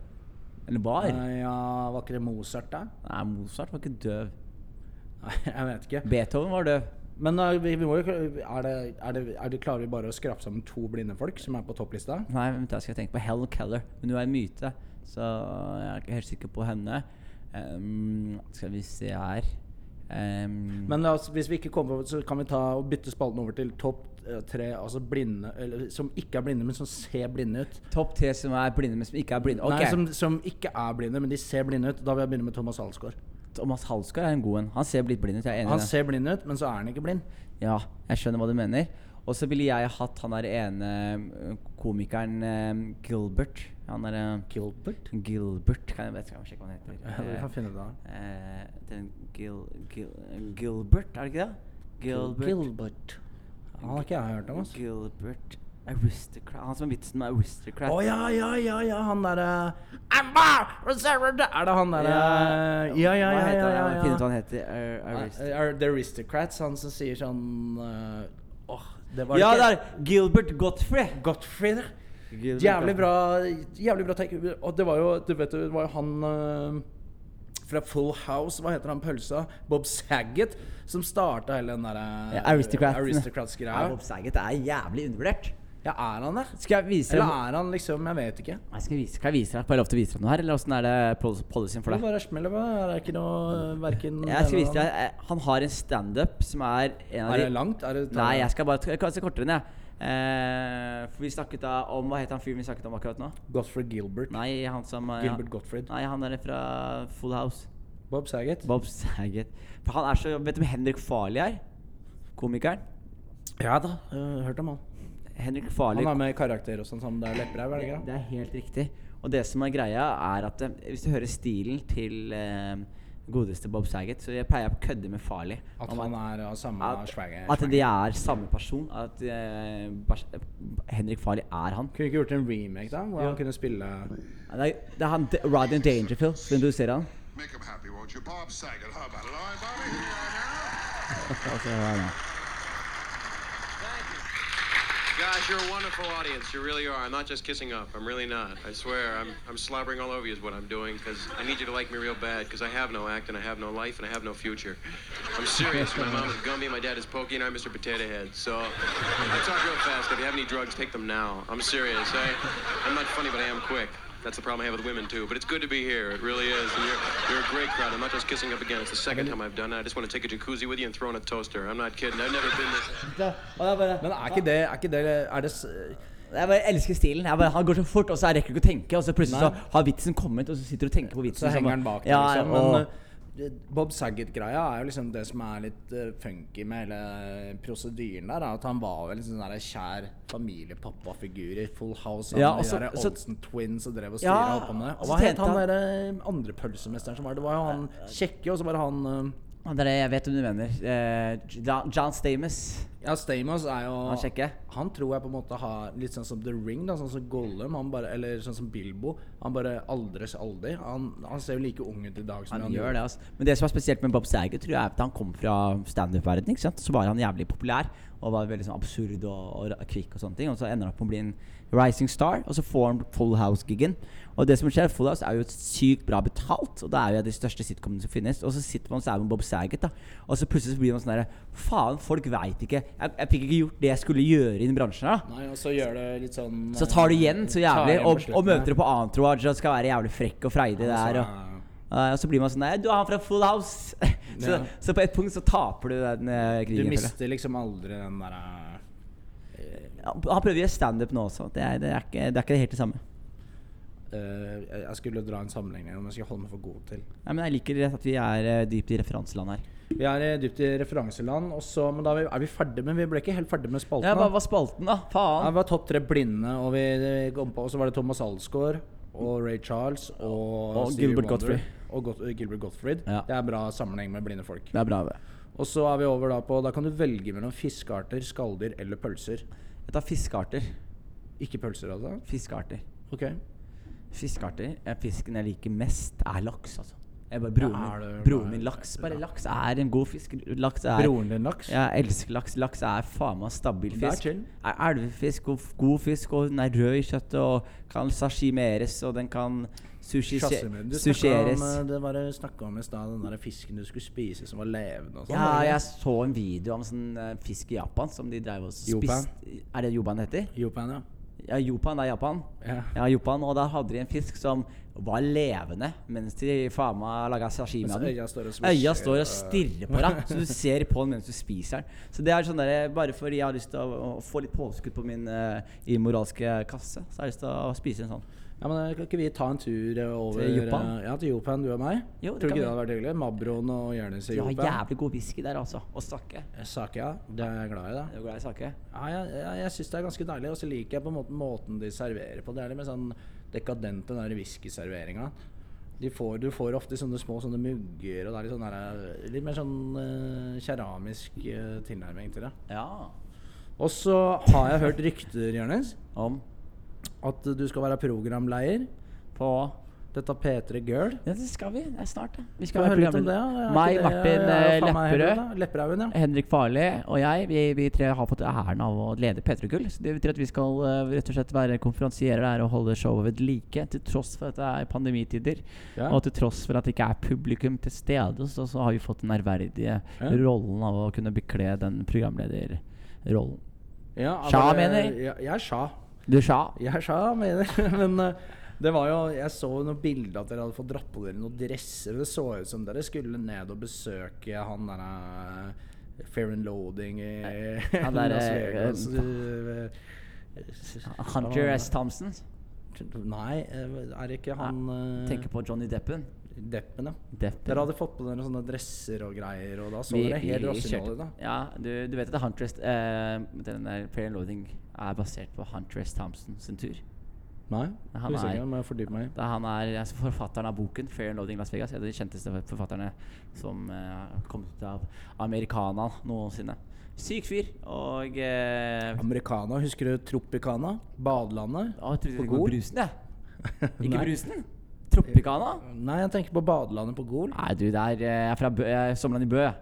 S2: Eller var. Nei,
S1: Eh, ja, var ikke det Mozart, da? [laughs]
S2: Mozart var ikke døv.
S1: Nei, jeg vet ikke.
S2: Beethoven var døv.
S1: Men eh, vi, vi må jo er det, er det, er det Klarer vi bare å skrape sammen to blinde folk som er på topplista?
S2: Nei, vent, da skal jeg tenke på Helen Keller. Men hun er en myte, så jeg er ikke helt sikker på henne. Ehm, skal vi se her Ehm,
S1: Men la oss- hvis vi ikke kommer på, så kan vi ta og bytte spalten over til topp eh, tre altså blinde eller, Som ikke er blinde, men som ser blinde ut.
S2: Topp tre som er blinde, men som ikke er blinde. Ok,
S1: Nei, som, som ikke er blinde, men de ser blinde ut. Da vil jeg begynne med Thomas Alsgaard.
S2: Thomas Halsgaard er en god en. Han ser litt blind ut. jeg er enig i
S1: Han
S2: det.
S1: ser blind ut, men så er han ikke blind.
S2: Ja, jeg skjønner hva du mener. Og så ville jeg hatt han der ene eh, komikeren eh, Gilbert. Han er eh,
S1: Gilbert?
S2: Gilbert kan jeg, vet ikke, jeg må sjekke hva han heter.
S1: Ja, vi kan finne det av.
S2: Eh, eh, den Gil, Gil, Gilbert, er det ikke det? Gilbert.
S1: Gilbert. Han har ikke jeg hørt om. altså. ass.
S2: Gilbert Aristocrat. Han som er vitsen med Aristocrat.
S1: Å ja, ja, ja, ja, han derre Er det han derre
S2: eh,
S1: Ja, ja, ja.
S2: Hva heter
S1: ja,
S2: han?
S1: ja,
S2: Jeg må finne ut hva han heter. Ar- Arist-
S1: Er er The Aristocrats, han som sier sånn eh, Åh, det var
S2: Ja, det
S1: ikke
S2: er Gilbert Gottfried.
S1: Gottfried.
S2: Gilbert
S1: Jævlig bra Jævlig bra take. Og det var jo Du vet jo, det var jo han eh, fra Full House, hva heter han pølsa? Bob Saget, som starta hele den eh, derre
S2: Ja, Aristocrats. Ja,
S1: Aristocrats-greia.
S2: Bob Saget er jævlig undervurdert.
S1: Ja, er han det?
S2: Skal jeg vise
S1: Eller
S2: deg
S1: er han liksom Jeg vet ikke.
S2: Nei, skal jeg vise, kan jeg vise deg? Får jeg lov til å vise deg noe her, eller åssen er det pol- policyen for
S1: Det
S2: deg?
S1: bare smeller på. Er det ikke noe Verken
S2: Jeg skal vise deg, eh, Han har en standup som er en av
S1: Er det
S2: de
S1: langt? Er det
S2: Nei, jeg skal bare jeg kan se kortere enn jeg. Eh, for vi snakket da om Hva het han fyren vi snakket om akkurat nå?
S1: Gottfried Gilbert.
S2: Nei, han som eh,
S1: Gilbert Gottfried.
S2: Nei, han der fra Full House.
S1: Bob Saget.
S2: Bob Saget. For han er så Vet du hvem Henrik Farley er? Komikeren?
S1: Ja da, eh, hørt om han.
S2: Henrik Farley
S1: Han har med karakter og sånn, som det er lepperau, er det
S2: det,
S1: ikke?
S2: det er helt riktig. Og det som er greia, er at eh, hvis du hører stilen til eh, godeste Bob Saget, så jeg pleier å kødde med Farley.
S1: det? At
S2: om
S1: han er av samme
S2: at,
S1: sverge?
S2: at de er samme person. At eh, Bas- Henrik Farley er han.
S1: Kunne vi ikke gjort en remake, da? Hvor han kunne spille
S2: Det er, det er han D- Rodney Dangerfield som introduserer han.
S3: Make him happy, won't you? Bob Saget, how about it? All right, Bobby, here you are
S2: Altså, hør
S3: now.
S2: nå.
S4: Guys, you're a wonderful audience. You really are. I'm not just kissing up. I'm really not. I swear. I'm, I'm slobbering all over you is what I'm doing because I need you to like me real bad because I have no act and I have no life and I have no future. I'm serious. My mom is Gumby, my dad is Pokey, and I'm Mr. Potato Head. So I talk real fast. If you have any drugs, take them now. I'm serious. I, I'm not funny, but I am quick. That's the problem I have with women too. But it's good to be here. It really is. And you're, you're a great crowd. I'm not just kissing up again. It's the second time I've done it. I just want to take a jacuzzi with you and throw in a toaster. I'm not kidding. I've never been this.
S2: Og det er bare,
S1: Men er ikke det Er, ikke det, er det s-
S2: jeg bare elsker stilen. Jeg bare, han går så fort, og så rekker du ikke å tenke. Og så plutselig
S1: Nei.
S2: så har vitsen kommet, og så sitter du og tenker på vitsen.
S1: Så henger han bak deg,
S2: ja,
S1: liksom.
S2: ja,
S1: Men
S2: og-
S1: eh, Bob Saget-greia er jo liksom det som er litt eh, funky med hele prosedyren der. er At han var vel en sånn der kjær familiepappa-figur i Full House.
S2: Ja,
S1: Ja,
S2: og så-
S1: de der
S2: så-
S1: Olsen Twins og drev og styra
S2: Ja,
S1: opp om det.
S2: og
S1: Og
S2: så
S1: hva het
S2: tjente
S1: han
S2: han-
S1: derre andre pølsemesteren som var det? var jo han kjekke, og så var det han eh,
S2: Han der, jeg vet hvem du mener. Eh, John, John Stamos.
S1: Ja, Stamos er jo
S2: Han kjekke?
S1: Han tror jeg på en måte har litt sånn som The Ring, da, sånn som Gollum, han bare, eller sånn som Bilbo. Han bare aldres aldri. Han, han ser jo like ung ut i dag som han
S2: Han gjør det, altså. Men det som er spesielt med Bob Saget, tror jeg er at han kom fra standup-verdenen. ikke sant? Så var han jævlig populær og var veldig sånn absurd og, og ra- kvikk og sånne ting. Og så ender han opp med å bli en rising star, og så får han Full House-giggen. Og det som skjer, Full House er jo sykt bra betalt, og det er jo av de største sitcomene som finnes. Og så sitter man sammen med Bob Saget, da. Og så plutselig så blir man sånn derre Faen, folk veit ikke jeg, jeg fikk ikke gjort det jeg skulle gjøre i den bransjen her, da.
S1: Nei, og så gjør det litt sånn eh,
S2: Så tar du igjen så jævlig,
S1: Tar igjen på
S2: og, og
S1: slutten,
S2: møter
S1: ja.
S2: du på annet Roger og skal være jævlig frekk og freidig der. Og,
S1: Altså,
S2: Eh, og så blir man sånn Nei, du er han fra Full House! [laughs] så,
S1: Ja.
S2: så på et punkt så taper du den eh,
S1: Du
S2: krigen. føler jeg.
S1: mister liksom aldri den derre
S2: Ja, Han prøver å gjøre standup nå også. Det er, det, er ikke, det er ikke helt det samme.
S1: eh, jeg- Jeg skulle dra en sammenligning, men jeg skulle holde meg for god til.
S2: Nei, men jeg liker rett at vi er eh, dypt i referanseland her.
S1: Vi er eh, dypt i referanseland, og så Men da er vi, er vi ferdig, men vi ble ikke helt ferdig med spalten.
S2: Ja,
S1: da.
S2: Hva var spalten, da?
S1: Ja,
S2: Faen.
S1: vi var topp tre blinde, og vi eh, kom på, og så var det Thomas Alsgaard og Ray Charles og,
S2: Og
S1: Stevie
S2: Gilbert
S1: Wonder,
S2: Gottfried.
S1: Og Got Gilbert Gottfried.
S2: Ja.
S1: Det er bra sammenheng med blinde folk.
S2: Det er bra. det.
S1: Og så er vi over da på Da kan du velge mellom fiskearter, skalldyr eller pølser.
S2: Jeg tar fiskearter.
S1: Ikke pølser, altså?
S2: Fiskearter.
S1: Ok.
S2: Fiskearter. Eh, Fisken jeg liker mest, er laks, altså. Jeg bare, broren,
S1: Ja, er
S2: min,
S1: det-
S2: broren min laks. Bare laks er en god fisk. Laks er
S1: Broren din laks?
S2: Jeg elsker laks. Laks er faen meg stabil
S1: Det er
S2: fisk.
S1: chill.
S2: Er elvefisk og f- god fisk, og den er rød i kjøttet og kan sashimeres, og den kan sushi-
S1: Shazam, Du snakket
S2: susheres.
S1: om eh, det var det snakket om i stad, den der fisken du skulle spise som var levende og sånn.
S2: Ja,
S1: var det
S2: jeg
S1: ikke?
S2: så en video om sånn eh, fisk i Japan som de drev og
S1: Jopan.
S2: spiste Er det Jopan det heter?
S1: Jopan, ja.
S2: Ja, Jopan det er Japan.
S1: Ja.
S2: Jopan, og der hadde de en fisk som var levende mens de faen meg laga sashimi
S1: Mens
S2: av den.
S1: øya står og smasher,
S2: Øya står
S1: og-
S2: og stirrer på deg, så du ser på den mens du spiser den. Så det er sånn der, Bare fordi jeg har lyst til å, å få litt påskudd på min eh, immoralske kasse, så har jeg lyst til å spise en sånn.
S1: Ja, men eh, Kan ikke vi ta en tur eh, over
S2: Til Jopan?
S1: eh, Ja, til Jopan, du og meg?
S2: Jo, det
S1: Tror du
S2: kan
S1: ikke
S2: vi.
S1: det hadde vært hyggelig? Mabroen og Jonis i
S2: De har
S1: Jopan.
S2: jævlig god whisky der, altså. Og sake.
S1: Sake, ja. Det er jeg glad i, da.
S2: Er du glad i sake?
S1: Ja, jeg jeg, jeg syns det er ganske deilig. Og så liker jeg på en måte måten de serverer på. Det er litt mer sånn dekadent, den der whiskyserveringa. De får, du får ofte sånne små sånne mugger, og det er litt, sånn der, litt mer sånn eh, keramisk eh, tilnærming til det.
S2: Ja.
S1: Og så har jeg hørt rykter, Jonis,
S2: Om
S1: at du skal være programleder.
S2: på
S1: Dette P3 Girl.
S2: Ja, det skal vi. Det er snart, det. Vi
S1: Skal vi høre litt om det? ja? Er ikke
S2: Meg,
S1: det-
S2: Martin
S1: ja,
S2: eh,
S1: faen meg heller,
S2: Lepperød.
S1: da. Lepperøden, ja.
S2: Henrik Farli og jeg vi, vi tre har fått æren av å lede P3 Gull. Så det betyr at vi skal eh, rett og slett være konferansierer der og holde showet ved like. Til tross for at det er pandemitider,
S1: Ja.
S2: og til tross for at det ikke er publikum til stede, så, så har vi fått den ærverdige
S1: Ja.
S2: rollen av å kunne bekle den programlederrollen.
S1: ja. ja,
S2: Sja,
S1: bare-
S2: mener?
S1: Ja, jeg er sja.
S2: Du sa
S1: Jeg sa mener [laughs] Men eh, det var jo Jeg så jo noen bilder at dere hadde fått dratt på dere noen dresser. Det så ut som dere skulle ned og besøke han derre eh, Fair and Loading i [laughs]
S2: han der,
S1: Las
S2: eh,
S1: Vegas.
S2: eh,
S1: eh, eh,
S2: Hunter
S1: hva-
S2: S. Thompson.
S1: Nei, eh, er det ikke han eh,
S2: Tenker på Johnny Deppen.
S1: Deppen, ja.
S2: Deppen.
S1: Dere hadde fått på dere sånne dresser og greier, og da så
S2: Vi-
S1: dere helt
S2: vi
S1: rassinålige,
S2: kjørte-
S1: da.
S2: Ja, du, du vet at Hunter S. eh, den der Fair and Loading er basert på Hunter S. Thompson sin tur.
S1: Nei?
S2: Han
S1: Usikker,
S2: er-
S1: må jeg fordype meg i.
S2: Da han er altså, forfatteren av boken 'Fair and Loading Las Vegas'. En av de kjenteste forfatterne som eh, kom ut av Americana noensinne. Syk fyr. Og eh,
S1: Americana, husker du Tropicana? Badelandet?
S2: å, Jeg trodde
S1: på
S2: det var
S1: Gol?
S2: brusen, jeg. Ikke
S1: [laughs] Nei.
S2: brusen? Tropicana?
S1: Nei, jeg tenker på badelandet på Gol.
S2: Nei, du, det er eh, Jeg er fra Bø, jeg er Sommerland i Bø. jeg.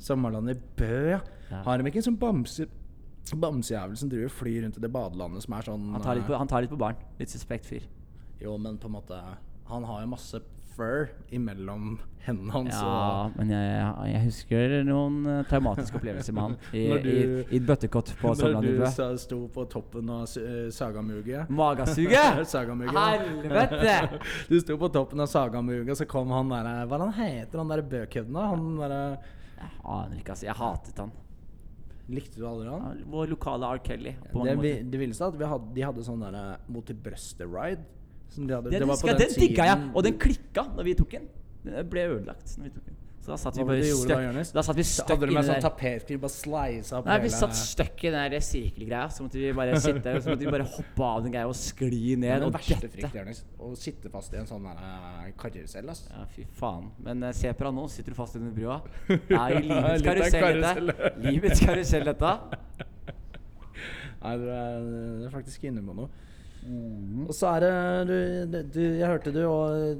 S1: Sommerlandet i Bø, ja.
S2: Ja.
S1: Har de ikke en sånn bamse bamsejævel som driver og flyr rundt i det badelandet som er sånn
S2: Han tar litt på,
S1: eh,
S2: han tar litt på barn. Litt suspekt fyr.
S1: Jo, men på en måte Han har jo masse fur imellom hendene hans. og-
S2: Ja, men jeg, jeg husker noen eh, traumatiske opplevelser med han
S1: [laughs]
S2: i,
S1: Når du-
S2: i, i et bøttekott på
S1: Når [laughs] du
S2: Sørlandet.
S1: sa- sto på toppen av eh, sagamuget [laughs]
S2: Magasuget!
S1: Sagamuget. [laughs]
S2: Helvete!
S1: Du sto på toppen av sagamuget, så kom han der eh, Hva er han heter han der bøkheden da? Han der, eh,
S2: Jeg aner ikke, altså. Jeg hatet han.
S1: likte du aldri han?
S2: Han- Vår lokale R. Kelly. På
S1: det,
S2: mange
S1: vi,
S2: måter.
S1: det villeste er at vi hadde, de hadde sånn der eh, mot til brøstet-ride. som de hadde-
S2: Den,
S1: det var på
S2: husker jeg, den
S1: tiden-
S2: digga jeg, og den klikka når vi tok den. Den ble ødelagt når vi tok den. Så da satt vi
S1: Hva var
S2: bare
S1: det du gjorde da,
S2: støkk
S1: Jonis?
S2: Da satt vi
S1: Så
S2: støkk
S1: hadde de
S2: inni
S1: med sånn
S2: der.
S1: tapetkniv bare sleisa opp
S2: Nei, vi
S1: hele-
S2: satt støkk i den der sirkelgreia. Så måtte vi bare sitte der, og så måtte vi bare hoppe av den greia og skli
S1: Det
S2: ned.
S1: er den
S2: Og
S1: verste
S2: dette.
S1: frykt, Jonis. Å sitte fast i en sånn der, eh, karusell. ass.
S2: Ja, fy faen. Men eh, se på deg nå, sitter du fast under
S1: [laughs]
S2: brua. Det er jo livets
S1: Litt av en
S2: karusell, dette.
S1: karusell.
S2: Livets karusell, dette.
S1: Nei, du er, du er faktisk inne på noe.
S2: Mhm.
S1: Og så er det du, du, Jeg hørte du og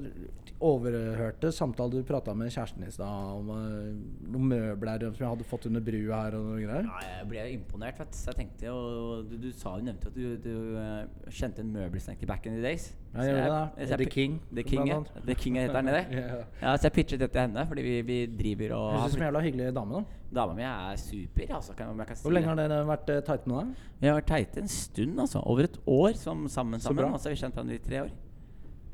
S1: overhørte samtalen du prata med kjæresten i stad om eh, noen møbler som jeg hadde fått under brua her og noe greier.
S2: Nei, jeg ble imponert, vet du. Så jeg tenkte jo Du, du sa jo nevnte at du, du eh, kjente en møbelsnekker back in the days.
S1: Ja, jeg
S2: Så
S1: gjorde det.
S2: så
S1: The
S2: pi-
S1: King,
S2: The King,
S1: blant
S2: ja.
S1: annet.
S2: The King heter han i det.
S1: [laughs] Ja.
S2: Ja, så jeg pitchet det til henne, fordi vi, vi driver og
S1: Høres
S2: har
S1: ut som en
S2: flytt-
S1: jævla hyggelig dame, da.
S2: Dama mi er super, altså. Kan, om jeg kan si
S1: Hvor lenge
S2: det.
S1: har dere vært eh, tight med deg?
S2: Vi har vært teite en stund, altså. Over et år som sammen.
S1: Så
S2: sammen
S1: bra.
S2: altså, Vi har kjent hverandre i tre år.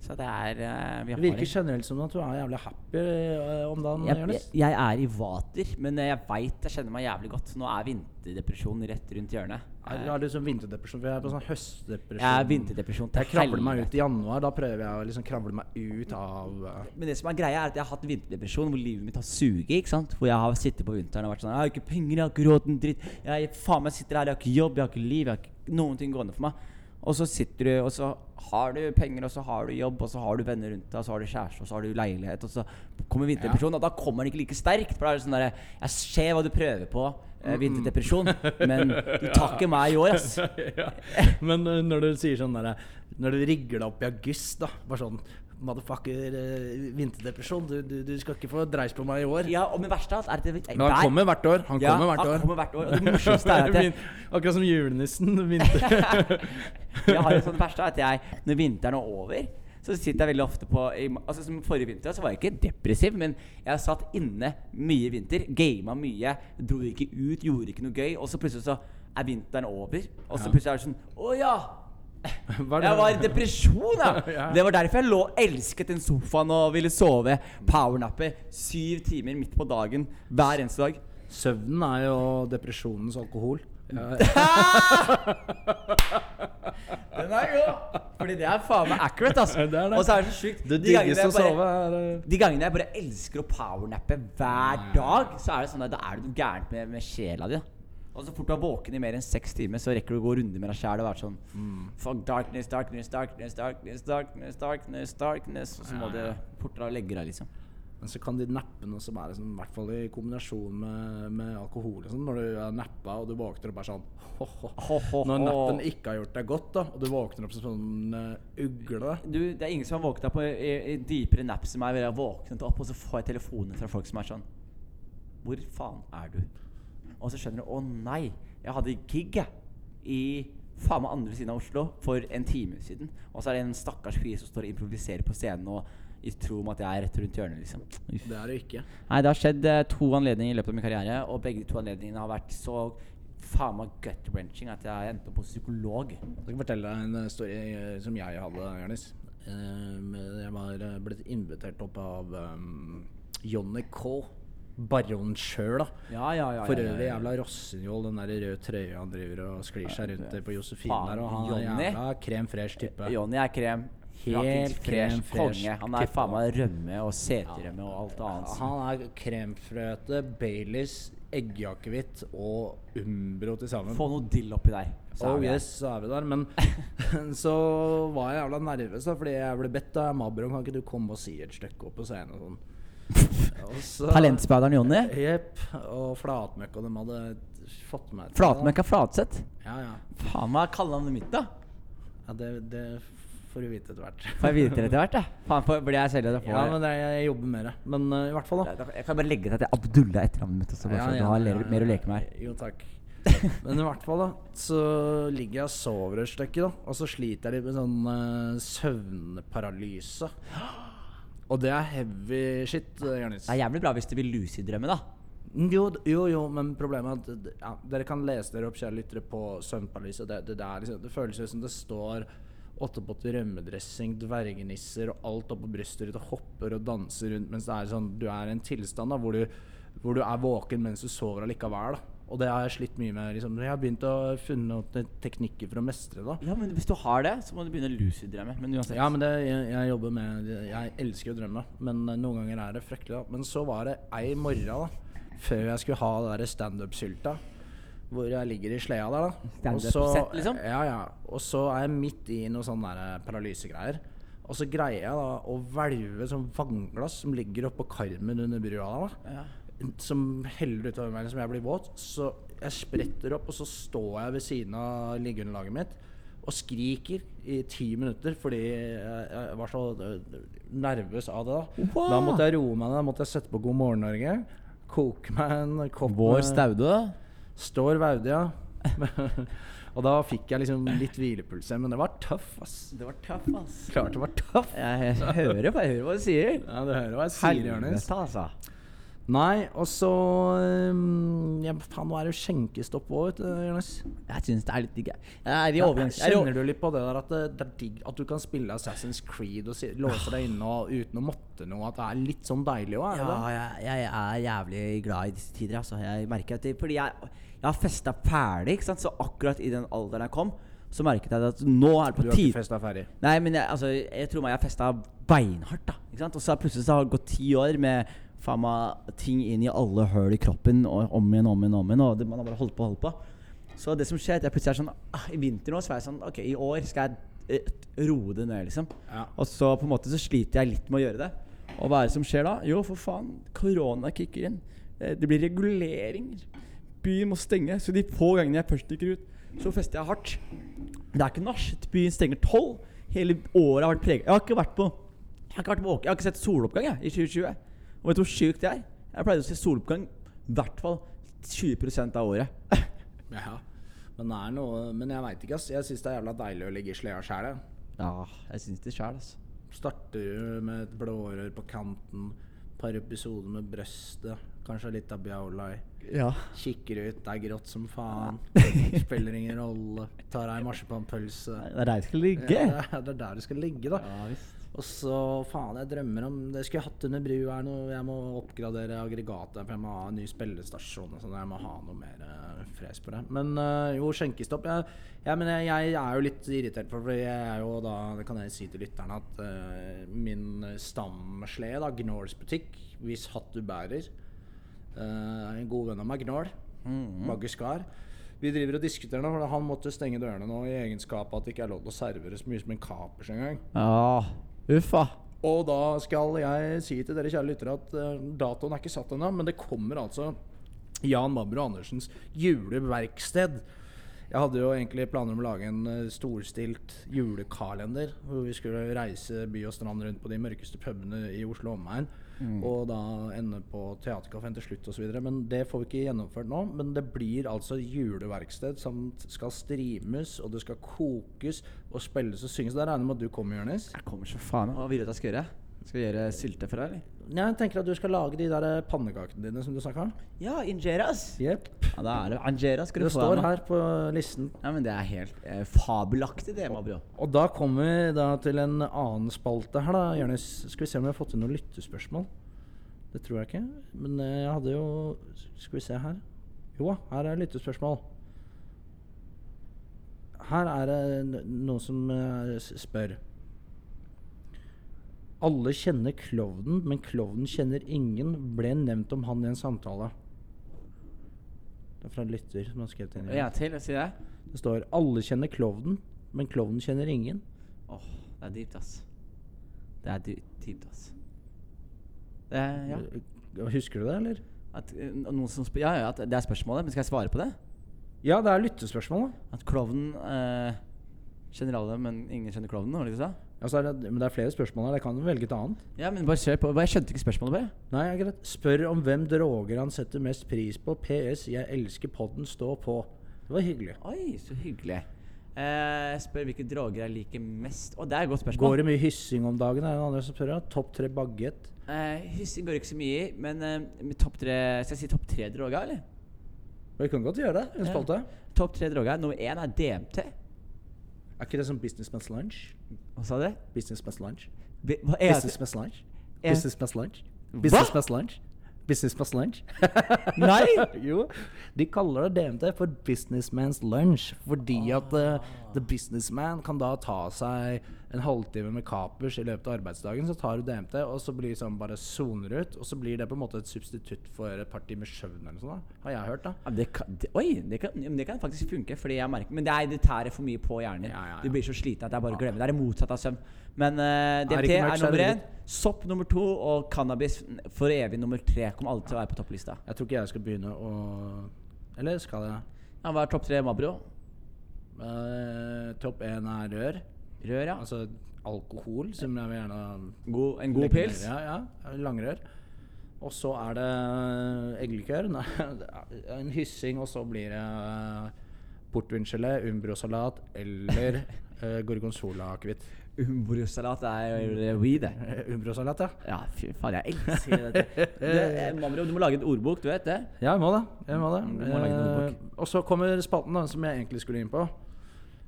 S2: Så det er eh,
S1: Det
S2: vi har en-
S1: virker generelt som at du er jævlig happy eh, om dagen,
S2: jeg, jeg,
S1: Jonis.
S2: jeg er i vater, men jeg veit jeg kjenner meg jævlig godt. Nå er vinterdepresjon rett rundt hjørnet.
S1: Er- Jeg har liksom vinterdepresjon, for jeg er på sånn høstdepresjon.
S2: Jeg er vinterdepresjon til
S1: Jeg kravler meg
S2: helvete.
S1: ut i januar. Da prøver jeg å liksom kravle meg ut av eh,
S2: Men det som er greia er at jeg har hatt vinterdepresjon hvor livet mitt har suget. ikke sant? Hvor jeg har sittet på vinteren og vært sånn Jeg har ikke penger, jeg har ikke råd til en dritt. Jeg faen meg sitter her, jeg har ikke jobb, jeg har ikke liv, jeg har ikke noen ting gående for meg. Og så sitter du, og så har du penger, og så har du jobb, og så har du venner rundt deg, og så har du kjæreste, og så har du leilighet, og så kommer vinterdepresjon. Og da kommer den ikke like sterkt. For da er det sånn derre Jeg ser hva du prøver på,
S1: Mm.
S2: eh,
S1: [laughs]
S2: vinterdepresjon, men du tar ikke meg i år, ass.
S1: [laughs] ja. Men eh, når du sier sånn der, Når du rigger deg opp i august, da Bare sånn Motherfucker, eh, vinterdepresjon. Du, du, du skal ikke få dreis på meg i år.
S2: Ja, og med verst av alt er at det-
S1: Men han
S2: hver-
S1: kommer hvert år. Han
S2: Ja,
S1: kommer hvert
S2: han
S1: år.
S2: kommer hvert år, og det
S1: [laughs]
S2: morsomste er at jeg-
S1: Vin- Akkurat som
S2: [laughs]
S1: julenissen. Vinter.
S2: Jeg har jo sånn verste at jeg, når vinteren er over så sitter jeg veldig ofte på i- Altså Som forrige vinter så var jeg ikke depressiv, men jeg satt inne mye i vinter. Gama mye. Dro ikke ut, gjorde ikke noe gøy. Og så plutselig så er vinteren over. Og så plutselig er det sånn Å ja!
S1: [laughs] Hva er det-
S2: Jeg var i depresjon, ja!
S1: [laughs] Ja.
S2: Det var derfor jeg lå elsket den sofaen og ville sove. Powernappe syv timer midt på dagen hver eneste dag.
S1: Søvnen er jo depresjonens alkohol.
S2: [laughs]
S1: Ja,
S2: Den er god! Fordi det er faen meg accurate, altså.
S1: Det er det.
S2: Og så er det så sjukt.
S1: det
S2: De gangene
S1: diggeste
S2: jeg
S1: å
S2: bare-
S1: sove er eh,
S2: De gangene jeg bare elsker å powernappe hver
S1: Mm.
S2: dag, så er det sånn at da er det noe gærent med, med sjela di. da. Og så fort du er våken i mer enn seks timer, så rekker du å gå runder med deg sjæl og være sånn
S1: Mm.
S2: Fuck darkness, darkness, darkness, darkness, darkness, darkness, darkness Og så må du fortere legge deg, liksom.
S1: Men så kan de nappene som er sånn, i hvert fall i kombinasjon med, med alkohol og sånn, Når du er nappa og du våkner opp bare sånn ho, ho,
S2: Ho, ho,
S1: Når
S2: ho.
S1: nappen ikke har gjort deg godt, da, og du våkner opp som sånn eh, ugle
S2: Du, det er ingen som har våkna på i, i dypere naps enn meg, hvor jeg har våknet opp, og så får jeg telefoner fra folk som er sånn Hvor faen er du? Og så skjønner du Å nei, jeg hadde gig, jeg. I faen meg andre siden av Oslo for en time siden. Og så er det en stakkars fyr som står og improviserer på scenen og i tro om at jeg er rett rundt hjørnet, liksom. Uff.
S1: Det er det ikke.
S2: Nei, det har skjedd eh, to anledninger i løpet av min karriere, og begge de to anledningene har vært så faen meg gut-wrenching at jeg endte opp hos psykolog.
S1: Jeg skal fortelle deg en eh, story eh, som jeg hadde, Jonis. Ehm, Jeg var eh, blitt invitert opp av ehm, Johnny K. Baron sjøl, da.
S2: Ja, ja, ja.
S1: For
S2: ja, ja,
S1: øvrig
S2: ja.
S1: jævla Rossignol, den der i rød trøye han driver og sklir seg rundt der på Josefine
S2: Faen,
S1: der, og han er
S2: Johnny.
S1: jævla krem fresh type.
S2: Jonny er krem.
S1: Helt
S2: Helt
S1: krem
S2: krem
S1: fresh.
S2: konge. Han er
S1: Tippa.
S2: faen meg rømme og seterømme og alt annet. Sånn.
S1: Han er kremfrøte, Baileys, eggeakevitt og Umbro til sammen.
S2: Få noe dill oppi der. så er
S1: Oh
S2: vi der.
S1: yes,
S2: [laughs]
S1: så er vi der. Men [laughs] så var jeg jævla nervøs, da, fordi jeg ble bedt av Mabro kan ikke du komme og si et stykke opp på scenen. og Sånn. Og så-
S2: Talentspeideren Jonny.
S1: Jepp. Og Flatmøkk og dem hadde fått meg til det, da.
S2: Flatmøkka Flatseth.
S1: Ja, ja.
S2: Faen, hva er kallenavnet mitt, da?
S1: ja det, det får du vite etter hvert.
S2: Får jeg vite det etter hvert, da? Faen, får- blir jeg selv eller
S1: [laughs] Ja, men
S2: får
S1: det, jeg jobber med det. Men eh, i hvert fall, da.
S2: Da- da- jeg kan bare legge til at det er Abdullah etter navnet mitt. Også, bare så du har le- mer å leke med her.
S1: Jo, takk. Men i hvert fall, da, så ligger jeg og sover et stykke, da. Og så sliter jeg litt med sånn eh, søvnparalyse. Og det er heavy shit, eh, Jonis.
S2: Det er jævlig bra hvis du vil lucidrømme, da.
S1: Jo, d- jo, jo, men problemet er at d- ja, dere kan lese dere opp, kjære lyttere, på Søvnparalyset. Det, det, det, er liksom, det føles jo som det står åttepott rømmedressing, dvergenisser og alt oppå brystet ditt og hopper og danser rundt mens det er sånn Du er i en tilstand da hvor du, hvor du er våken mens du sover allikevel. Da. Og det har jeg slitt mye med. Liksom. Jeg har begynt å funne noen teknikker for å mestre det. da.
S2: Ja, men Hvis du har det, så må du begynne å lucidrømme. Men uansett.
S1: Ja, men det, jeg, jeg jobber med Jeg elsker å drømme, men eh, noen ganger er det fryktelig. da. Men så var det ei morgen da, før jeg skulle ha det der standup-sylta, hvor jeg ligger i sleda der, da. Og så-
S2: Standup-sett, liksom?
S1: Ja, ja. Og så er jeg midt i noe sånn der paralysegreier. Og så greier jeg da å hvelve sånn vannglass som ligger oppå karmen under brua der, da. Som heller utover meg som jeg blir våt. Så jeg spretter opp, og så står jeg ved siden av liggeunderlaget mitt og skriker i ti minutter fordi jeg jeg var så øh, nervøs av det. Da
S2: Wow.
S1: Da måtte jeg roe meg ned, da måtte jeg sette på God morgen Norge. Koke meg en kopp
S5: Vår
S1: med-
S5: Staude, da?
S1: Står Vaude, ja. [laughs] og da fikk jeg liksom litt hvilepuls, men det var tøff, ass.
S2: Det var tøff, ass.
S1: Klart det var tøff.
S2: Jeg hører, på- jeg hører hva du sier.
S1: Ja, du hører hva jeg sier, Jonis.
S2: altså.
S1: Nei, og så um, ja, Faen, nå er det jo skjenkestopp òg, vet du, Jonis.
S2: Jeg syns det er litt digg. jeg. Jeg er i overgangs... jeg er i
S1: Kjenner
S2: over-
S1: du litt på det der at det, det er digg at du kan spille Assassin's Creed og si, låse deg inne og, uten å måtte noe? At det er litt sånn deilig òg?
S2: Ja, jeg, jeg er jævlig glad i disse tider. Altså. Jeg merker at det, Fordi jeg, jeg har festa ferdig, ikke sant? så akkurat i den alderen jeg kom, så merket jeg at nå er
S1: Du
S2: det på
S1: har ikke
S2: tide
S1: festa ferdig?
S2: Nei, men jeg, altså, jeg tror meg jeg har festa beinhardt, da. Ikke sant? Og så har plutselig så har det gått ti år med faen meg ting inn i alle høl i kroppen, og om igjen, om igjen, om igjen. Og det, man har bare holdt på, holdt på. Så det som skjer, er at jeg plutselig er sånn ah, I vinter nå så er jeg sånn Ok, i år skal jeg eh, roe det ned, liksom.
S1: Ja.
S2: Og så på en måte så sliter jeg litt med å gjøre det. Og hva er det som skjer da? Jo, for faen, korona kicker inn. Eh, Det blir reguleringer. Byen må stenge. Så de få gangene jeg først stikker ut, så fester jeg hardt. Det er ikke nach. Byen stenger tolv. Hele året har vært preget. Jeg har ikke vært på Jeg har ikke, vært på, åker- jeg har ikke sett soloppgang jeg, i 2020. Og vet du hvor sjukt det er? Jeg pleide å se soloppgang i hvert fall 20 av året. [laughs]
S1: Ja. Men, det er noe, men jeg veit ikke, ass. Jeg syns det er jævla deilig å ligge i sleda sjæl, jeg.
S2: Ja, jeg syns det sjæl, altså.
S1: Starter jo med et blårør på kanten, par episoder med brøstet, kanskje litt av Bjaulai.
S2: Ja.
S1: Kikker ut, det er grått som faen. Spiller ingen rolle. Tar ei marsipanpølse.
S2: Det er der jeg skal ligge.
S1: Ja, det er- det er der du skal ligge, da.
S2: Ja, visst.
S1: Og så, faen, jeg drømmer om Det skulle jeg hatt under brua her nå. Jeg må oppgradere aggregatet, for jeg må ha en ny spillestasjon og sånn. Jeg må ha noe mer eh, fres på det. Men eh, jo, skjenkestopp. Jeg, jeg, men jeg, jeg er jo litt irritert for for jeg er jo da Det kan jeg si til lytterne, at eh, min stamslede, da, Gnåls butikk, hvis hatt du bærer Eh, en god venn av meg, Gnål. Bagge Skar. Vi driver og diskuterer nå, for han måtte stenge dørene nå i egenskap av at det ikke er lov til å servere så mye som en kapers engang.
S2: Ja. Uffa.
S1: Og da skal jeg si til dere kjære lyttere at eh, datoen er ikke satt ennå, men det kommer altså Jan Mabro Andersens juleverksted. Jeg hadde jo egentlig planer om å lage en eh, storstilt julekalender. Hvor vi skulle reise by og strand rundt på de mørkeste pubene i Oslo og omegn. Og da ende på Theatercaféen til slutt osv. Men det får vi ikke gjennomført nå. Men det blir altså juleverksted som skal streames, og det skal kokes og spilles og synges. Der regner jeg med at du kommer, Jonis?
S2: Jeg kommer så faen meg. Hva vil du at jeg skal gjøre? Skal jeg gjøre sylte for deg, eller?
S1: Jeg tenker at du skal lage de der pannekakene dine som du snakka om.
S2: Ja, injeras.
S1: Yep.
S2: Ja, da er det Angera skal du
S1: Det
S2: få
S1: står
S2: deg nå.
S1: her på listen.
S2: Ja, men det er helt eh, fabelaktig det, Mabro.
S1: Og da kommer vi da til en annen spalte her, da, Jonis. Skal vi se om vi har fått inn noen lyttespørsmål. Det tror jeg ikke. Men eh, jeg hadde jo Skal vi se her. Jo da, her er lyttespørsmål. Her er det n- noen som eh, s- spør. Alle kjenner klovnen, men klovnen kjenner ingen. Ble nevnt om han i en samtale. Det er fra en lytter som har skrevet inn. i
S2: En til, sier jeg.
S1: det står 'Alle kjenner klovnen, men klovnen kjenner ingen'.
S2: Åh, det er dypt, ass. Det er dy- dypt, ass. Det er, ja.
S1: Eh, Husker du det, eller?
S2: At, eh, noen som spør, ja, ja, at det er spørsmålet, men skal jeg svare på det?
S1: Ja, det er lyttespørsmål, da.
S2: At klovnen eh, kjenner alle, men ingen kjenner klovnen, var det ikke det du sa?
S1: Ja, så Altså, er det, men det er flere spørsmål her. Jeg kan jo velge et annet.
S2: Ja, men bare kjør på. Bare- Jeg skjønte ikke spørsmålet, bare.
S1: Nei, ja, greit. Spør om hvem droger han setter mest pris på. PS. Jeg elsker podden. Stå på. Det var hyggelig.
S2: Oi, så hyggelig. Eh, spør hvilke droger jeg liker mest. Å, det er et godt spørsmål.
S1: Går det mye hyssing om dagen? Er det noen andre som spør? ja? Topp tre bagett?
S2: Eh, hyssing går ikke så mye i, men eh, med topp tre Skal jeg si topp tre droger, eller?
S1: Vi kan godt gjøre det. i En spalte.
S2: Topp tre droger. Nummer én er DMT.
S1: Er ikke det som businessman's lunch?
S2: Hva sa du?
S1: Businessman's lunch?
S2: Bi- Hva er det?
S1: Businessman's lunch?
S2: Ja.
S1: Businessman's lunch? Businessman's lunch? Businessman's lunch? [laughs]
S2: Nei!
S1: jo, de kaller det DMT for businessman's lunch, fordi at eh, the businessman kan da ta seg en halvtime med kapers i løpet av arbeidsdagen, så tar du DMT, og så blir det sånn bare soner ut, og så blir det på en måte et substitutt for et par timer søvn eller noe sånt, da. har jeg hørt da.
S2: Ja, men det kan, det, oi, det kan, ja, men det kan faktisk funke. Fordi jeg merker, men det, er, det tærer for mye på hjernen.
S1: Ja, ja, ja.
S2: Du blir så sliten at jeg bare glemmer. Det er det motsatte av søvn. Men
S1: Er
S2: eh,
S1: det
S2: DMT
S1: ikke
S2: er,
S1: mørkt, så er
S2: nummer
S1: det
S2: én. Sopp nummer to. Og cannabis for evig nummer tre. Kommer alltid til å være på topplista.
S1: Jeg tror ikke jeg skal begynne å... Eller skal jeg?
S2: Ja, Hva er topp tre Mabro?
S1: Eh, topp 1 er rør,
S2: Rør, ja.
S1: altså alkohol, som jeg vil gjerne...
S2: God, en god
S1: Legge ned.
S2: pils.
S1: Ja, ja. Langrør. Og så er det eggelikør. Nei, [laughs] det er En hyssing, og så blir det portvingelé, umbrosalat eller eh, gorgonzola-akevitt.
S2: Umbrosalat er weed, det.
S1: Eh, Umbrosalat, ja.
S2: Ja, fy faen, jeg elsker [laughs] dette. Det, eh, Mabro, du må lage en ordbok, du vet det?
S1: Ja, jeg må det. Jeg må det.
S2: Mm, Du må lage en
S1: Eh,
S2: ordbok.
S1: og så kommer spalten da, som jeg egentlig skulle inn på.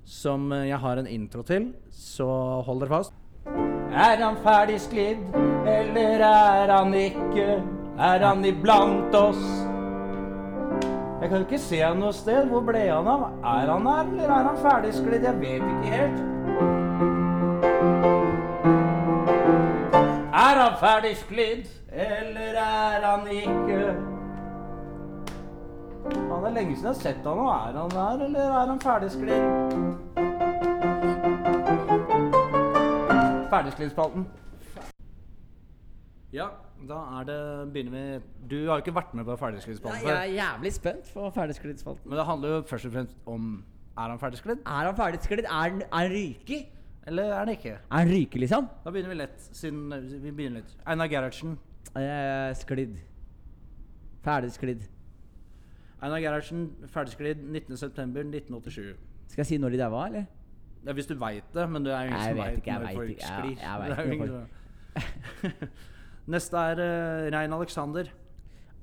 S1: Som eh, jeg har en intro til, så hold dere fast. Er han ferdig sklidd, eller er han ikke? Er han iblant oss? Jeg kan ikke se han noe sted. Hvor ble han av? Er han her, eller er han ferdig sklidd? Jeg vet ikke helt. Er han ferdig sklidd, eller er han ikke? Han er lenge siden jeg har sett han, og er han her, eller er han ferdigsklidd? Ferdigskliddspalten. Ja, da er det begynner vi Du har jo ikke vært med på ferdigskliddspalten
S2: Jeg er
S1: før.
S2: jævlig spent på ferdigskliddspalten.
S1: Men det handler jo først og fremst om er han ferdigsklidd,
S2: Er han ferdigsklidd? Er han- er han ryker?
S1: eller er han ikke?
S2: Er han ryker, liksom?
S1: Da begynner vi lett. siden vi begynner litt. Einar Gerhardsen.
S2: Eh, sklidd. Ferdigsklidd.
S1: Einar Gerhardsen, ferdigsklidd 19.9.1987.
S2: Skal jeg si når de daua, eller?
S1: Ja, hvis du veit det, men det er jo ingen
S2: Jeg
S1: som
S2: vet
S1: veit
S2: ikke, jeg
S1: når
S2: vet
S1: folk
S2: ikke, jeg-
S1: sklir.
S2: jeg vet
S1: Det er jo
S2: ikke når
S1: ingen som- [laughs] Neste er eh, Rein Alexander,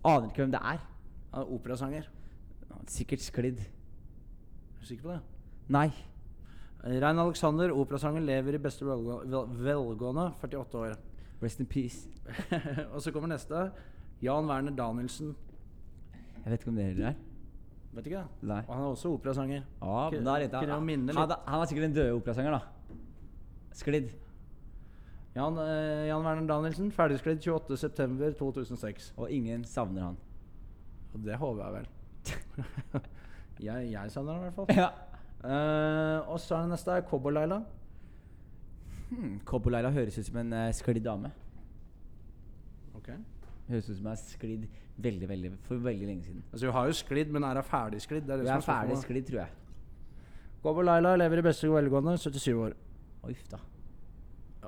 S2: Aner ikke hvem det er.
S1: Han er operasanger.
S2: Sikkert sklidd.
S1: Er du sikker på det? Eh,
S2: Nei.
S1: Rein Alexander, operasanger, lever i beste velgå- vel- velgående, 48 år. [laughs]
S2: Rest in peace.
S1: Og så kommer neste. Jan Werner Danielsen.
S2: Jeg vet ikke om det heller er.
S1: Vet ikke det?
S2: Nei.
S1: Og han er også operasanger.
S2: Ja, men da er det-
S1: Kunne jo minne litt.
S2: han, han er sikkert en død operasanger, da. Sklidd.
S1: Jan, eh, Jan Werner Danielsen, ferdigsklidd 28.9.2006.
S2: Og ingen savner han. [laughs]
S1: Og det håper jeg vel. [laughs] jeg, jeg savner ham i hvert fall.
S2: Ja.
S1: Eh, og så er det neste er Cowboy-Laila.
S2: Hmm, Coppola høres ut som en eh, sklidd dame. Høres ut som jeg er sklidd veldig, veldig, for veldig lenge siden.
S1: Altså, hun har jo sklidd, men er hun ferdig sklidd? Det er
S2: Du
S1: det
S2: er
S1: som er
S2: ferdig
S1: spørsmålet.
S2: sklidd, tror jeg.
S1: Cowboy-Laila lever i beste velgående, 77 år.
S2: Å, Uff [laughs] da.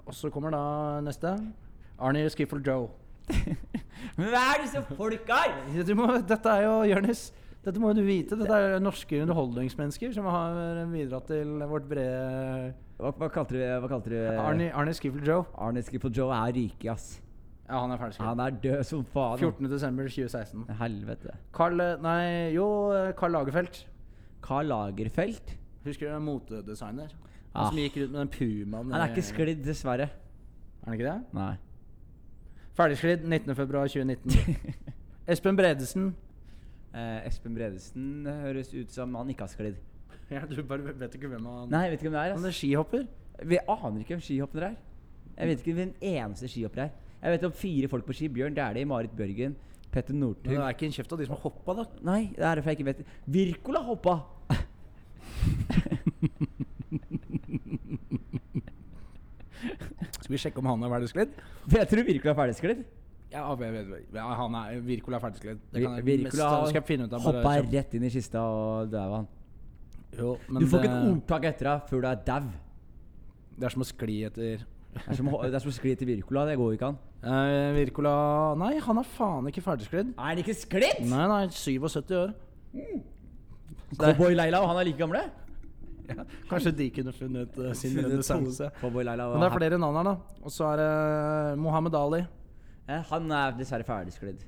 S1: Og så kommer da neste. Arnie Skiffle Joe.
S2: Men hva er disse folka her?!
S1: Du må, dette er jo Jonis. Dette må jo du vite. Dette er norske underholdningsmennesker som har bidratt til vårt brede
S2: Hva, hva kalte du Hva kalte du
S1: Arnie, Arnie Skiffle Joe.
S2: Arne Skiffle Joe er ryke, ass.
S1: Ja, han er ferdig skrevet.
S2: Han er død som faen.
S1: 14.12.2016.
S2: Helvete.
S1: Carl eh, Nei, jo, eh, Carl Lagerfeldt.
S2: Karl Lagerfeldt.
S1: Husker du motedesigner? Han
S2: Ah.
S1: som gikk rundt med den pumaen.
S2: Han er
S1: i-
S2: ikke sklidd, dessverre.
S1: Er han ikke det?
S2: Nei.
S1: Ferdigsklidd 19.2.2019. [laughs] Espen Bredesen.
S2: [laughs] Eh, Espen Bredesen høres ut som han ikke har sklidd.
S1: Ja, du bare vet ikke hvem han
S2: Nei, jeg vet ikke hvem det er.
S1: Han er
S2: Ass.
S1: skihopper.
S2: Vi aner ikke hvem skihopper er. Jeg vet ikke hvem eneste skihopper er. Jeg vet om fire folk på ski. Bjørn Dæhlie, Marit Bjørgen, Petter
S1: Men
S2: Northug.
S1: det er ikke en kjeft av de som har hoppa, da.
S2: Nei, det er derfor jeg ikke vet Virkola hoppa!
S1: Skal vi sjekke om han er ferdigsklidd?
S2: Jeg tror Virkola er ferdigsklidd.
S1: Ja, jeg vet, vet- ja, han er Virkola er ferdigsklidd. Det kan jeg mest-
S2: Virkola
S1: skal jeg finne ut av. bare
S2: hoppa
S1: kjapt.
S2: rett inn i kista og daua han.
S1: Jo, men
S2: Du får ikke et
S1: det,
S2: ordtak etter deg før du er dau.
S1: det er som å skli etter
S2: Det er som å- det er som å skli til Virkola. Det går jo ikke an.
S1: Eh, Virkola Nei, han er faen ikke ferdigsklidd.
S2: Er han ikke sklidd?
S1: Nei, nei, 77 år.
S2: Cowboy-Leila og han er like gamle?
S1: Kanskje de kunne funnet eh, sin
S2: Funnet
S1: renessanse.
S2: to. Cowboy Laila var
S1: Men det er
S2: happy.
S1: flere navn her, da. Og så er det Mohammed Ali.
S2: Eh, Han er dessverre ferdigsklidd.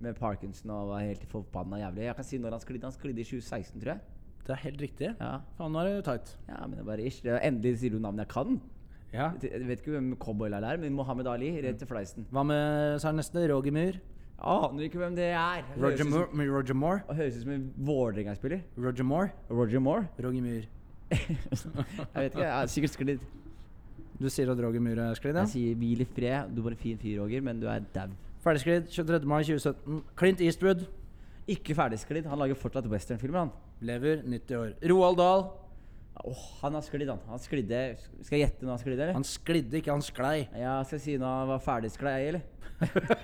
S2: Med Parkinson og var helt forbanna jævlig. Jeg kan si når han sklidde. Han sklidde i 2016, tror jeg.
S1: Det er helt riktig.
S2: Ja,
S1: Faen, nå er det tight.
S2: ja men det er bare ish. Det er endelig sier du navnet jeg kan.
S1: Ja.
S2: Jeg vet ikke hvem Cowboy Laila er, men Mohammed Ali rett til fleisen.
S1: Hva med så er det neste? Roger Moore.
S2: Aner ikke hvem det er. Han
S1: Roger,
S2: høres ut som-
S1: Moore. Roger Moore.
S2: han Høres ut som en Vålerenga-spiller.
S1: Roger Moore.
S2: Roger Moore? [laughs]
S1: Roger Moore.
S2: jeg vet ikke. Jeg er sikkert sklidd.
S1: Du sier at Roger Moore er sklidd?
S2: Jeg
S1: Ja?
S2: sier hvil i fred. Du er bare en fin fyr, Roger, men du er dau.
S1: Ferdigsklidd 23. mai 2017. Clint Eastwood
S2: Ikke ferdigsklidd. Han lager fortsatt westernfilmer, han.
S1: lever 90 år. Roald Dahl.
S2: Åh, han har sklidd, han. Han sklidde Skal jeg gjette når han sklidde, eller?
S1: Han sklidde ikke, han sklei.
S2: Ja, skal jeg si når han var ferdigsklei, eller? [laughs]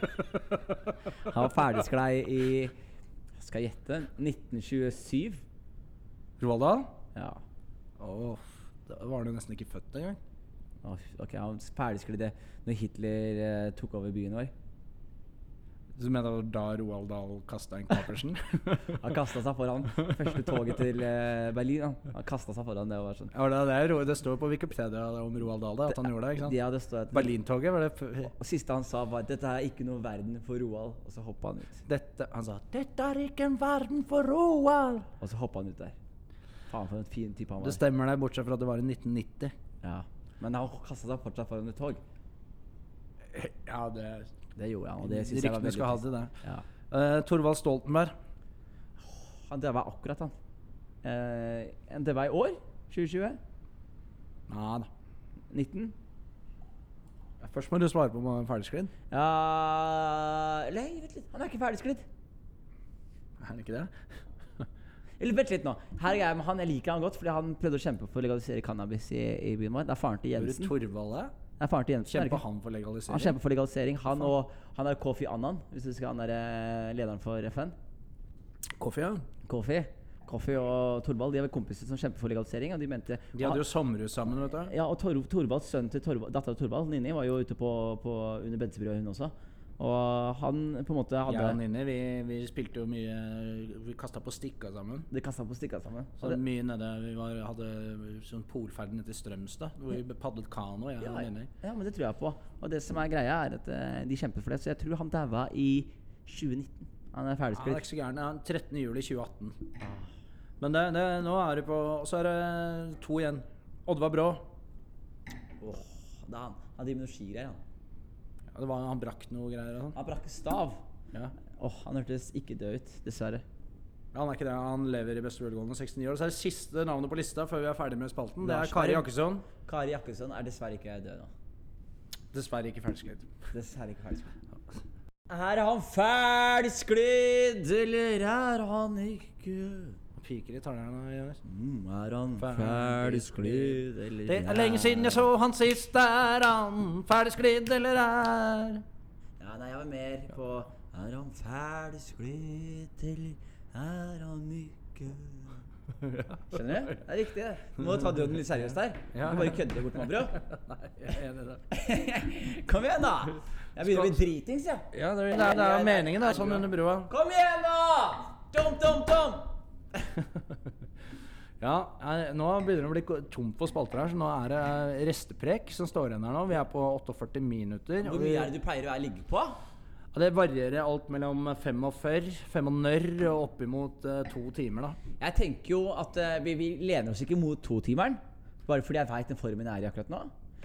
S2: han var ferdigsklei i Skal jeg gjette? 1927?
S1: Roald Dahl?
S2: Ja.
S1: Åh, da var han jo nesten ikke født engang.
S2: Å, fy- Ok, han ferdigsklidde når Hitler eh, tok over byen vår.
S1: Du mener det var da Roald Dahl kasta en Capersen?
S2: Han kasta seg foran første toget til eh, Berlin. Han, han kasta seg foran det og var sånn.
S1: Ja, det, er- det, er, Ro- det står på Wikipedia om Roald Dahl det, at han gjorde det. ikke sant?
S2: Ja, det står at
S1: Berlintoget var det f-
S2: Og siste han sa, var 'Dette er ikke noe verden for Roald', og så hoppa han ut.
S1: dette, Han sa 'Dette er ikke en verden for Roald'.
S2: Og så hoppa han ut der. Faen, for en fin type han
S1: Det
S2: var.
S1: stemmer det, bortsett fra at det var i 1990.
S2: Ja. Men han kasta seg fortsatt foran et tog.
S1: [laughs] Ja, det
S2: Det gjorde han, og det syns jeg var
S1: Ryktene
S2: veldig
S1: skal ha
S2: trist.
S1: til det.
S2: Ja.
S1: Eh, Torvald Stoltenberg.
S2: Han døde akkurat, han. Eh, han døde i år. 2020?
S1: Nei da.
S2: 19?
S1: Først må du svare på om han er ferdigsklidd.
S2: Ja Eller vent litt, han er ikke ferdigsklidd.
S1: Er han [laughs] ikke det?
S2: Eller vent litt nå. Her er greia med han, Jeg liker han godt, fordi han prøvde å kjempe for å legalisere cannabis i, i byen vår. Det er faren til
S1: Hvor
S2: Jensen.
S1: Torvald er?
S2: Det er faren til Jensen er det
S1: Kjemper
S2: ikke?
S1: han for
S2: Han
S1: legalisering?
S2: kjemper for legalisering. Han og han er Kofi Annan, hvis du husker han der eh, lederen for FN.
S1: Kofi, ja.
S2: Kofi. Kofi og Torvald de er vel kompiser som kjemper for legalisering. Og de mente
S1: De hadde jo sommerhus sammen, vet du.
S2: Ja, og Tor Torvalds sønn til Torvald, dattera til Torvald, Nini, var jo ute på, på under Bensebrua, hun også. Og han på en måte
S1: Jeg og
S2: hadde
S1: Nini, vi, vi spilte jo mye Vi kasta på stikka sammen.
S2: De kasta på stikka sammen.
S1: Så
S2: Og det,
S1: mye nede, Vi var, hadde sånn polferd nede til Strømstad, hvor vi padlet kano. Jeg
S2: ja,
S1: og Nini.
S2: ja, men det tror jeg på. Og det som er greia, er at eh, de kjemper for det. Så jeg tror han daua i 2019.
S1: Ja, Ah,
S2: Han er
S1: det er
S2: ferdigskrevet.
S1: ikke så gæren. Ja, 13. juli 2018. Men det, det, nå er det på Og så er det to igjen. Oddvar Brå.
S2: Åh, det er han. Han driver med noe skigreier, han.
S1: Ja, det var, han brakk noe greier og sånn.
S2: Han brakk stav.
S1: Ja.
S2: Åh, han hørtes ikke død ut, dessverre.
S1: Han er ikke det. Han lever i beste velgående 69 år. Så er det siste navnet på lista før vi er ferdig med spalten. Det
S2: Lars
S1: er Kari
S2: Berg.
S1: Jakkesson.
S2: Kari Jakkesson er dessverre ikke død nå.
S1: Dessverre ikke ferdigskrevet.
S2: Dessverre ikke ferdigsklidd. Er han ferdigsklidd, eller er han ikke?
S1: Piker i tallerne. Jonas.
S2: Mm, er han
S1: Ferdigsklidd.
S2: ferdigsklidd, eller
S1: Det er lenge siden jeg så han sist. Er han ferdigsklidd, eller er
S2: [laughs] Ja, nei, jeg var mer på Er han ferdigsklidd, eller er han ikke? Skjønner du? Det er riktig. det. Nå tar døden litt seriøst her. Du
S1: Ja.
S2: bare kødder bort med brød.
S1: [laughs] Nei, jeg er enig i det.
S2: [laughs] Kom igjen, da! Jeg begynner å bli dritings, jeg.
S1: Ja, det, det, er- det er jo meningen, da. Sånn under broa. [laughs]
S2: Kom igjen, da! Tom, tom, tom!
S1: Ja, eh, nå begynner det å bli ko- tomt for spalter her, så nå er det eh, resteprek som står igjen her nå. Vi er på 48 minutter.
S2: Hvor mye er det du pleier å være ligge på?
S1: Ja, det varierer alt mellom 45, 45 og oppimot eh, to timer, da.
S2: Jeg tenker jo at eh, vi, vi lener oss ikke mot totimeren, bare fordi jeg veit den formen jeg er i akkurat nå.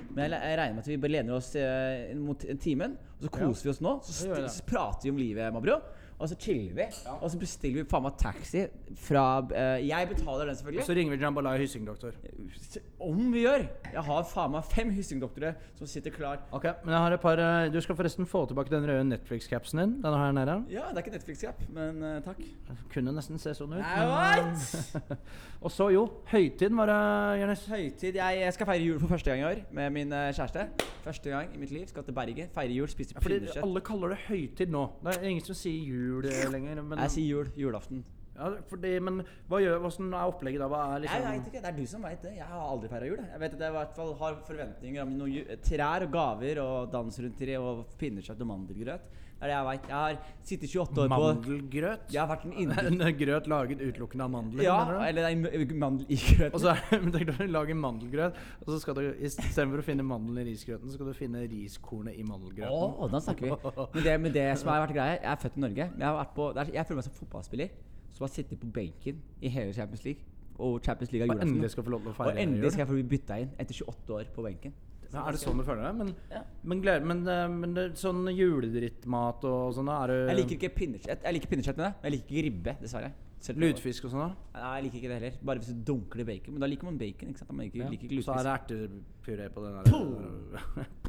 S2: Men jeg, le- jeg regner med at vi bare lener oss eh, mot timen, og så koser vi oss nå. Så,
S1: gjør vi det.
S2: st- så prater vi om livet, Mabro. Og så chiller vi. Og så bestiller vi faen meg taxi fra eh, Jeg betaler den, selvfølgelig.
S1: Så ringer vi Jambalaya Hyssingdoktor.
S2: Se- Om vi gjør! Jeg har faen meg fem hyssingdoktorer som sitter klar.
S1: Ok, men jeg har et par eh, Du skal forresten få tilbake den røde Netflix-capsen din. Den her nede.
S2: Ja, det er ikke Netflix-japp, men eh, takk.
S1: Kunne nesten se sånn ut.
S2: Nei,
S1: men, eh, [laughs] og så, jo. Høytiden var det, Jonis.
S2: Høytid. Jeg jeg skal feire jul for første gang i år med min eh, kjæreste. Første gang i mitt liv. Skal til Bergen, feire jul, spise
S1: Fordi
S2: pinnekjøtt.
S1: alle kaller det høytid nå. Det er ingen som sier jul eh, lenger. Men
S2: Jeg sier jul. Julaften.
S1: Ja, fordi, men hva gjør, hvordan er opplegget da? Hva er
S2: Jeg
S1: liksom
S2: vet ikke, Det er du som veit det. Jeg har aldri feira jul. jeg. Jeg vet at jeg i hvert fall har forventninger om noen ju- trær og gaver og dans rundt tre og pinnekjøtt og mandelgrøt. Det er det jeg vet. Jeg har sittet 28 år på
S1: Mandelgrøt? [laughs]
S2: Jeg har vært en innbytter...
S1: En grøt laget utelukkende av mandler? mener
S2: Ja,
S1: du?
S2: eller det er mandel i grøten.
S1: Og så er- [laughs] men tenk deg å lage mandelgrøt, og så skal du istedenfor å finne mandelen i risgrøten, så skal du finne riskornet i mandelgrøten.
S2: Å, da snakker vi. Men det, men det som har vært greia Jeg er født i Norge. Men jeg, har vært på, det er- jeg føler meg som fotballspiller som har sittet på benken i hele Champions League. Og Champions League har
S1: Og
S2: julaften.
S1: endelig skal få lov til å feire
S2: Og endelig
S1: jul.
S2: skal jeg få bli bytta inn etter 28 år på benken.
S1: Ja, er det sånn du føler deg? Men,
S2: Ja.
S1: men, gleder, men, eh, men det, sånn juledrittmat og sånn, da er det
S2: Jeg liker ikke pinnekjøtt. Jeg liker pinnekjøtt, men jeg liker ikke ribbe, dessverre. Selv om-
S1: lutfisk og sånn? da?
S2: Nei, jeg liker ikke det heller. Bare hvis du dunker det i bacon. Men da liker man bacon, ikke sant? Da Man ikke, liker ikke
S1: så er
S2: lutfisk.
S1: det ertepuré på den [laughs] der.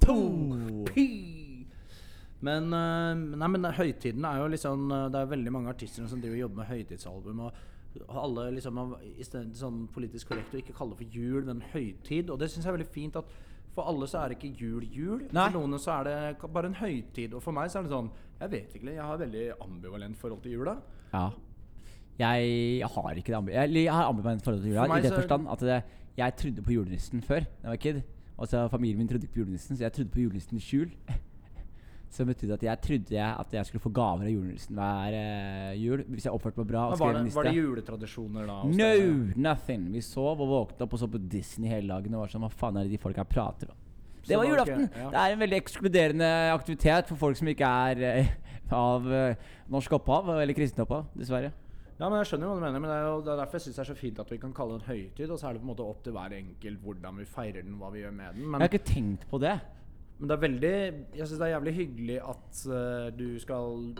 S2: To!
S1: Pi! Men, eh, nei, men høytiden er jo liksom eh, Det er veldig mange artister som driver og jobber med høytidsalbum. Og og alle liksom har- i stedet sånn politisk korrekt å ikke kalle det for jul, men høytid. Og det syns jeg er veldig fint. at For alle så er det ikke jul jul.
S2: Nei.
S1: For noen så er det ka- bare en høytid. Og for meg så er det sånn Jeg vet ikke, jeg har veldig ambivalent forhold til jula.
S2: Ja. Jeg har ikke det ambi- jeg, eller jeg har ambivalent forhold til jula.
S1: For meg
S2: I den
S1: så-
S2: forstand at det, jeg trodde på julenissen før da jeg var kid. Og så familien min trodde ikke på julenissen, så jeg trodde på julenissen i skjul. [laughs] Som betydde at jeg trodde jeg, at jeg skulle få gaver av julenissen hver eh, jul. Hvis jeg oppførte meg bra
S1: Men
S2: og
S1: var,
S2: skrev en
S1: det, var
S2: liste.
S1: det juletradisjoner da? hos dere?
S2: No, nothing. Vi sov og våkna opp og så på Disney hele dagen. Og var sånn, hva faen er det de folka prater om? Det
S1: Så det
S2: var
S1: var ikke-
S2: julaften!
S1: ja.
S2: Det er en veldig ekskluderende aktivitet for folk som ikke er eh, [laughs] av eh, norsk opphav, eller kristent opphav, dessverre.
S1: Ja, men jeg skjønner jo hva du mener, men det er, jo, det er derfor jeg syns det er så fint at vi kan kalle det en høytid. Og så er det på en måte opp til hver enkelt hvordan vi feirer den, hva vi gjør med den.
S2: Jeg
S1: Men,
S2: har ikke tenkt på det.
S1: men det er veldig Jeg syns det er jævlig hyggelig at eh, du skal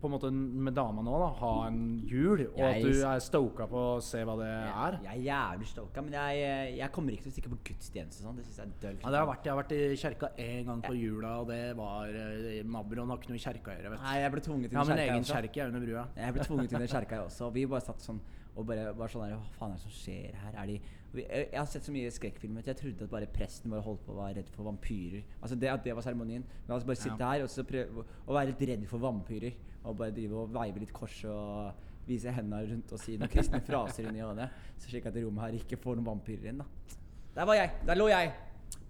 S1: på en måte med dama nå, da, ha en jul. Og
S2: Jeg-
S1: at du er stoka på å se hva det er.
S2: Jeg er jævlig stoka, men jeg, eh, jeg kommer ikke til å stikke på gudstjeneste og sånn. Det syns jeg er dølt.
S1: Ja, det har vært, jeg har vært i kjerka én gang på jula, og det var eh, Mabron har ikke noe i kjerka å gjøre, vet du.
S2: Nei, jeg ble tvunget inn
S1: Jeg har min
S2: kjerka
S1: egen
S2: også.
S1: kjerke jeg, under brua.
S2: Jeg ble tvunget inn i kjerka jeg også, og vi bare satt sånn og bare var sånn der, Hva faen er det som skjer her? Er de vi, jeg, jeg har sett så mye skrekkfilmer at jeg trodde at bare presten bare holdt på å være redd for vampyrer. Altså det at det var seremonien. Men altså bare sitte her og så prøve å være litt redd for vampyrer. Og bare drive og veive litt kors og vise hendene rundt og si noen kristne fraser inn i øynene. Så slik at det rommet her ikke får noen vampyrer inn, da. Der var jeg! Der lå jeg!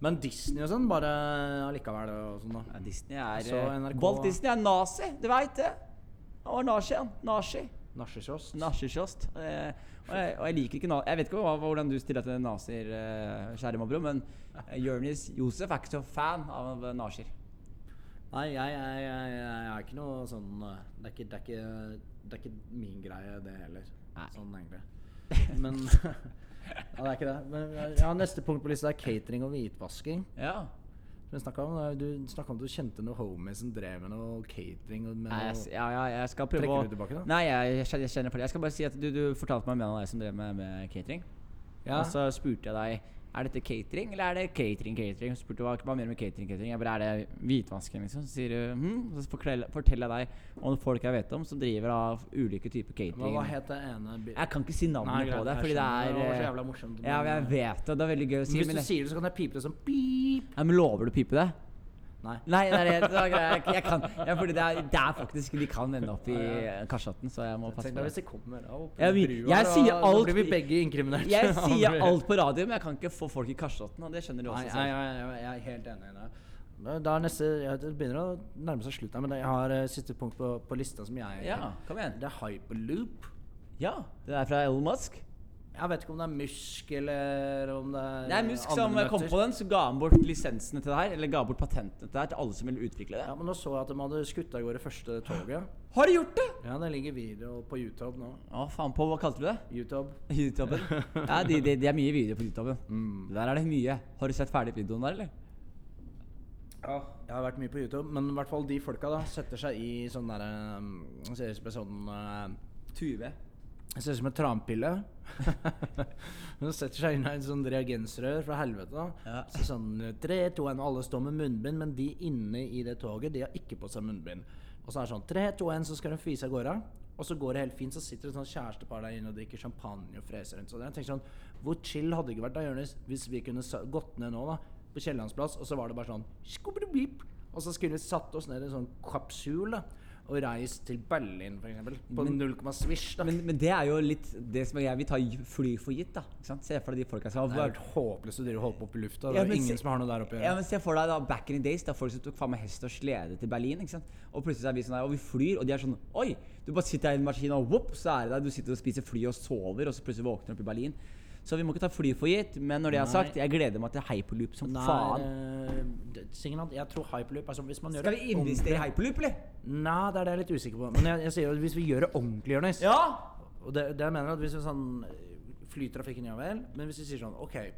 S1: Men Disney og sånn, bare allikevel og sånn, da.
S2: Ja, Disney er
S1: Så
S2: eh,
S1: NRK
S2: Walt Disney er nazi, du veit det. Han var nazi, han. Nazi.
S1: Nachekiosk.
S2: Nazikjost. Eh, og, jeg, og jeg liker ikke na Jeg vet ikke hva, hvordan du stiller deg til nazier, eh, kjære Mabro, men eh, Jonis Josef er ikke så fan av eh, nazier.
S1: Nei, jeg, jeg, jeg, jeg er ikke noe sånn eh, Det er ikke, det er ikke, det er ikke min greie, det heller.
S2: Nei.
S1: Sånn
S2: [laughs]
S1: egentlig. Men [laughs] Ja, det er ikke det. Men ja, Neste punkt på lista er catering og hvitvasking.
S2: Ja.
S1: Som vi snakket om, eh, Du snakka om at du kjente noen homies som drev med noe catering. Og med
S2: Nei, jeg, s-
S1: noe,
S2: ja, ja, jeg skal prøve
S1: Trekker
S2: å-
S1: du tilbake da?
S2: Nei, jeg, jeg, kjenner, jeg kjenner for det. Jeg skal bare si at du, du fortalte meg om en av deg som drev med, med catering.
S1: Ja.
S2: Og så spurte jeg deg er dette catering eller er det catering, catering. Så spurte du hva hva mener du med catering, catering. Jeg bare er det hvitvasking, liksom. Så sier du hm. Så fortell- forteller jeg deg om folk jeg vet om som driver av ulike typer catering.
S1: hva, hva het det ene bi-
S2: Jeg kan ikke si navnet
S1: Nei, greit,
S2: på det,
S1: jeg
S2: fordi det
S1: skjønner.
S2: er
S1: Det var så
S2: eh,
S1: jævla morsomt,
S2: Ja,
S1: men-
S2: jeg vet det. Det er veldig gøy å si.
S1: Hvis
S2: Men,
S1: du
S2: jeg,
S1: sier det, så kan jeg pipe det som pip.
S2: Nei, men lover du å pipe det?
S1: Nei.
S2: Nei, det er det. det er greit, jeg, jeg kan ja, Fordi det er, det er faktisk De kan ende opp i eh, kasjotten, så jeg må passe
S1: Tenk
S2: på
S1: deg hvis
S2: det.
S1: det kommer da opp
S2: Jeg,
S1: under
S2: vil-
S1: brua,
S2: jeg
S1: da-
S2: sier
S1: Da
S2: alt
S1: blir vi begge inkriminert. [laughs]
S2: Jeg
S1: Andre-
S2: sier alt på radio, men jeg kan ikke få folk i kasjotten, og det skjønner du også.
S1: Nei,
S2: selv.
S1: nei, nei, nei, jeg er helt enig i det. Men Da er neste, ja, Det begynner å nærme seg slutten, her, men jeg har eh, siste punkt på, på lista som jeg
S2: Ja, kom igjen.
S1: Det er hyperloop.
S2: Ja, det er fra Elon Musk.
S1: Eh, Jeg vet ikke om det er musk eller om det er
S2: Det er Musk
S1: andre
S2: som eh, kom
S1: nøtter.
S2: på den, så ga han bort lisensene til det her. Eller ga bort patentene til det her til alle som ville utvikle
S1: Ja,
S2: det.
S1: men Nå så jeg at de hadde skutt av gårde første toget.
S2: Har de gjort det?!
S1: Ja, Det ligger video på YouTube nå.
S2: Å, faen på, hva kalte du det?
S1: YouTube. [laughs]
S2: YouTuben? Ja, det de, de er mye videoer på YouTuben.
S1: Mm.
S2: Der er det mye. Har du sett ferdig videoen der, eller?
S1: Ja, jeg har vært mye på YouTube, men i hvert fall de folka da setter seg i sånn derre um, Ser ut som en sånn eh,
S2: Tuve.
S1: Det ser ut som en tranpille. [laughs] Hun setter seg inn i en sånn reagensrør fra helvete. da.
S2: Ja.
S1: Så sånn tre, to, en, og alle står med munnbind, men de inne i det toget, de har ikke på seg munnbind. Og så er det sånn tre, to, en, så skal hun fise av gårde. Og så går det helt fint, så sitter det et sånt kjærestepar der inne og drikker champagne og freser rundt. Så jeg tenker sånn Hvor chill hadde det ikke vært da, Jonis, hvis vi kunne sa- gått ned nå, da, på Kiellands plass, og så var det bare sånn skubbidi-bip, Og så skulle vi satt oss ned i en sånn kapsul, da. og reist til Berlin, f.eks. På
S2: Men-
S1: 0, svisj, da.
S2: Men, men det er jo litt det som jeg vil ta fly for gitt, da. Ikke sant? Se for deg de folka som har
S1: det er
S2: vært
S1: helt håpløst å drive og holde på oppe i lufta. Det
S2: Ja,
S1: er
S2: men
S1: jo ingen
S2: se-
S1: som har noe der oppe å
S2: Ja,
S1: gjøre.
S2: men Se for deg da, back in the days, da folk som tok faen meg hest og slede til Berlin. ikke sant? Og plutselig så er vi sånn der, og vi flyr, og de er sånn Oi! Du bare sitter her i en maskin, og whoop, så er det der. Du sitter og spiser fly og sover, og så plutselig våkner du opp i Berlin. Så vi må ikke ta fly for gitt, men når det er sagt, jeg gleder meg til hyperloop som
S1: eh,
S2: faen.
S1: Nei, Signaland, jeg tror hyperloop altså, Hvis man gjør
S2: Skal vi
S1: det
S2: investere i hyperloop, eller?
S1: ordentlig- Nei, det er det jeg er litt usikker på. Men jeg, jeg sier jo at hvis vi gjør det ordentlig, Jonis
S2: Ja!
S1: Og det, det jeg mener at hvis vi sånn eh, Flytrafikken, ja vel. Men hvis vi sier sånn OK.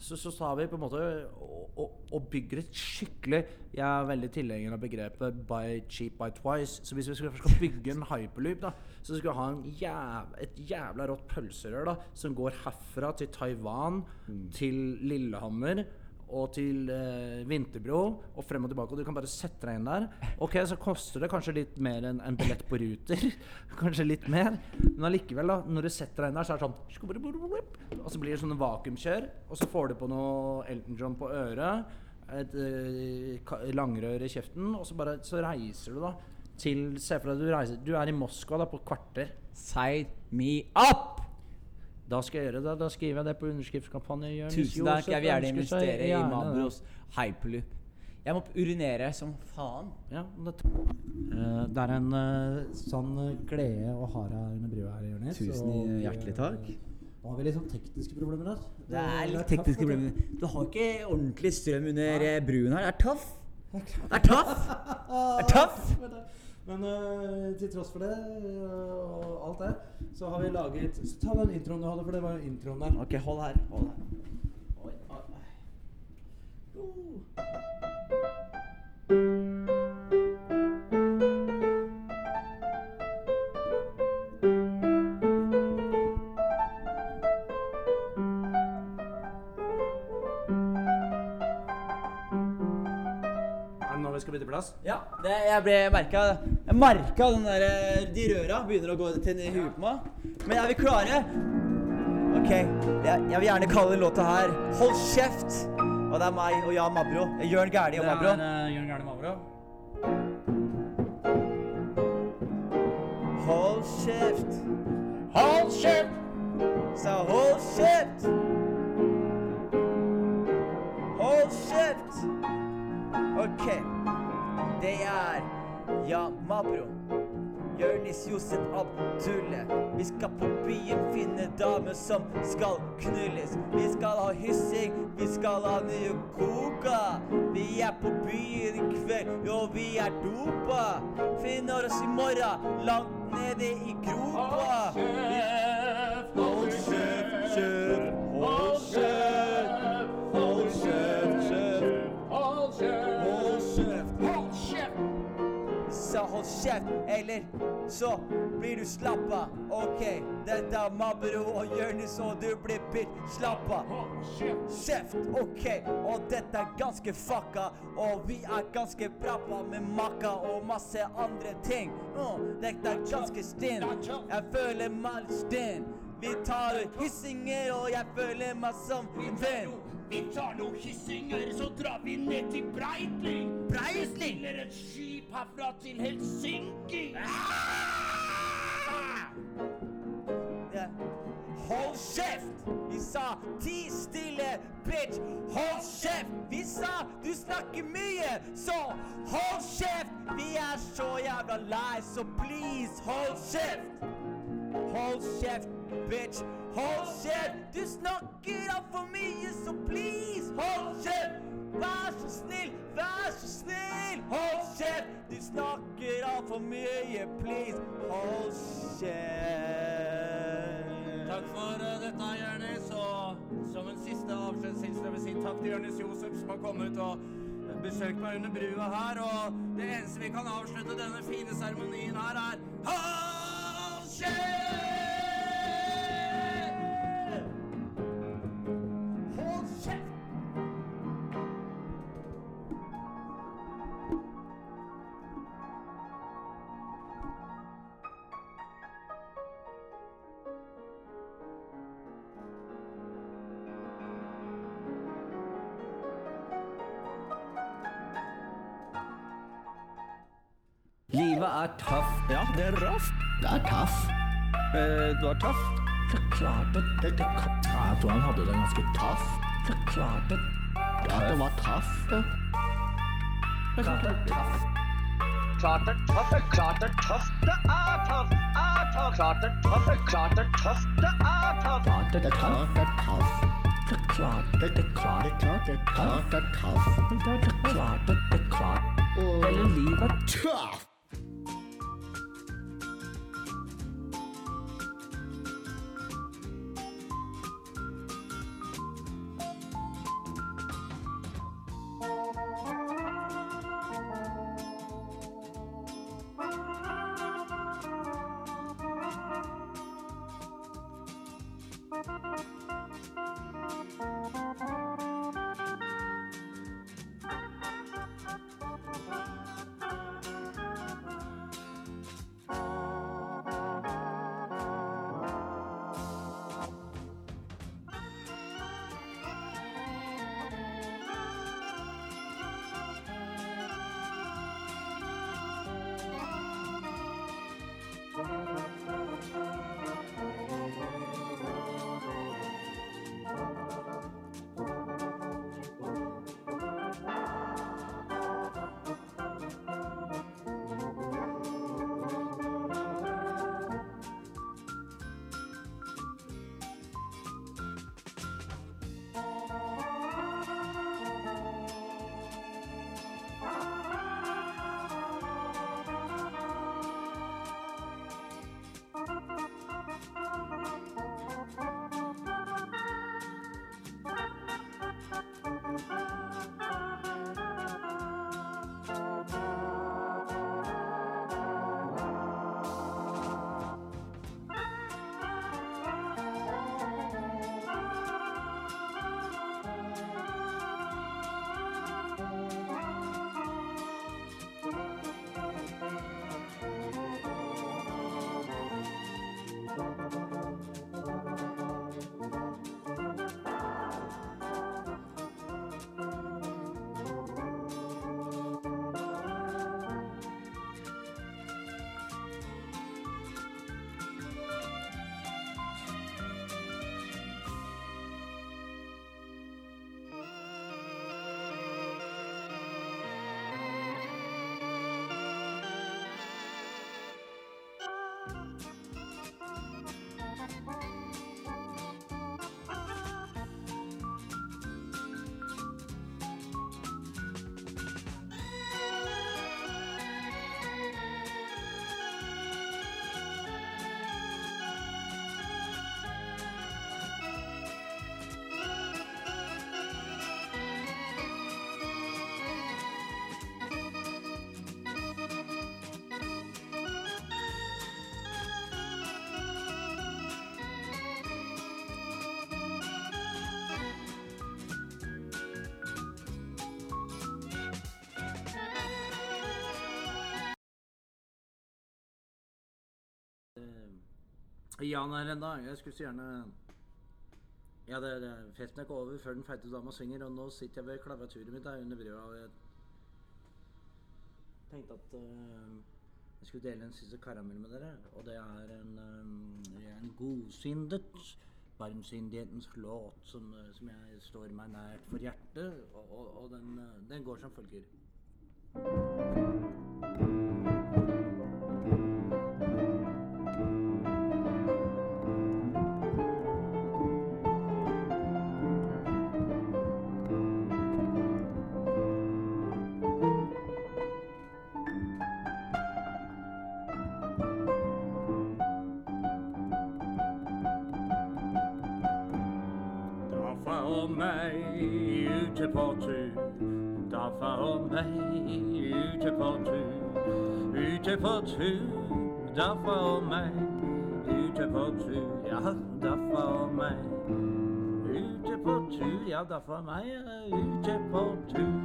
S1: Så, så tar vi på en måte og, og, og bygger et skikkelig Jeg er veldig tilhenger av begrepet 'by cheap by twice'. Så hvis vi skal, skal bygge en hyperloop, da, så skal vi ha en jæv, et jævla rått pølserør da, som går herfra til Taiwan, til Lillehammer og til eh, Vinterbro og frem og tilbake. Og du kan bare sette deg inn der. Ok, så koster det kanskje litt mer enn en billett på Ruter. [laughs] kanskje litt mer. Men allikevel, da. Når du setter deg inn der, så er det sånn skubbrubbrubb, Og så blir det sånne vakuumkjør. Og så får du på noe Elton John på øret. Et eh, ka- langrør i kjeften. Og så bare Så reiser du, da. Til Se for deg at du reiser Du er i Moskva da på kvarter.
S2: Side me up!
S1: Da skal jeg gjøre det. Da skriver jeg det på underskriftskampanje. Jonis
S2: Tusen takk.
S1: Josef
S2: Jeg vil
S1: ønsker
S2: gjerne
S1: seg
S2: investere i
S1: gjerne det.
S2: Mabros hyperloop. Jeg må urinere som faen.
S1: Ja, det, det er en eh, sann eh, glede å ha deg under brua her, Jonis.
S2: Tusen
S1: og vi,
S2: hjertelig
S1: eh,
S2: takk.
S1: Nå har vi litt sånn tekniske problemer her.
S2: Det er litt
S1: tøft,
S2: tekniske
S1: vet du.
S2: problemer. Du har ikke ordentlig strøm under eh, bruen her. Det er tøff. Det er tøff.
S1: [laughs]
S2: Det er tøff.
S1: Men eh, til tross for det eh, og alt det, så har vi laget så Ta den introen du hadde, for det var jo introen der.
S2: Ok, hold her. Hold her.
S1: Oi, oi. Er det nå vi skal bytte plass?
S2: Ja, det, jeg ble merka Jeg merka den der eh, De røra begynner å gå til ned i huet på meg. Men er vi klare? OK. Jeg, jeg vil gjerne kalle den låta her Hold kjeft. Og det er meg og Jan Mabro. Jørn Gæli og Mabro.
S1: eh, Jørn Gærne Mavro.
S2: Hold kjeft.
S1: Hold kjeft!
S2: Så hold kjeft! Hold kjeft! Ok, det er Jan Mabro. Jørnis Josef Abdulle. Vi skal på byen finne damer som skal knulles. Vi skal ha hyssing, vi skal ha nye koka. Vi er på byen i kveld, jo vi er dopa. Finner oss i morgen, langt nede i gropa. Vi Hold kjeft, kjeft, hold kjeft, hold kjeft, kjeft, hold kjeft, Så hold kjeft, eller så blir du slappa. Ok, dette er Mabro og Jonis, og du blir bitch slappa. Kjeft, ok, og dette er ganske fucka, og vi er ganske prappa med makka og masse andre ting. Mm, dette er ganske stinn, jeg føler meg litt stinn. Vi tar ut hyssinger, og jeg føler meg som en venn.
S6: Vi tar noen hyssinger, så drar vi ned til Breitling. Breitling? Stiller et skip herfra til Helsinki.
S2: Ah! Ja. Hold kjeft! Vi sa ti stille, bitch! Hold kjeft! Vi sa du snakker mye, så hold kjeft! Vi er så jævla lei, så please, hold kjeft! Hold kjeft, bitch! Hold kjeft! Du snakker altfor mye, så please, hold kjeft! Vær så snill, vær så snill, hold kjeft! Du snakker altfor mye, please, hold kjeft!
S6: Takk for eh, dette, Jonis. Og som en siste avskjedshilsen jeg vil si takk til Jonis Josef, som har kommet ut og besøkt meg under brua her. Og det eneste vi kan avslutte denne fine seremonien her, er Hold kjeft! Hold kjeft!
S7: Livet er tøff. Ja, det er røft. Det er tøff. du er tøff? Det er klart det. det, det ja, jeg tror han hadde det ganske tøff. Det er klart det. Ja, det var tøff, det. Det er klart det er tøff. Klart det er tøff, det er klart det er tøff, det er tøff, er tøff. Klart det er tøff, det er klart det er tøff, det er tøff. Klart det er tøff, det er tøff. Det er klart det, det er klart det, klart det er tøff, det er tøff. Det er klart det, det er klart. Hele livet er tøff.
S1: Jan er ennå. Jeg skulle så gjerne Ja, det, det, festen er ikke over før den feite dama synger, og nå sitter jeg ved klaviaturet mitt her under brua. og Jeg tenkte at eh, jeg skulle dele en siste karamell med dere. Og det er en, eh, det er en godsindet varmsindighetens låt som, eh, som jeg står meg nært for hjertet, og, og, og den, eh, den går som følger. Daffa og meg ute på tur. Daffa og meg ute på tur. Ute på tur. Daffa og meg ute på tur. Ja, daffa og meg ute på tur. Ja, daffa og meg eh, ute på tur.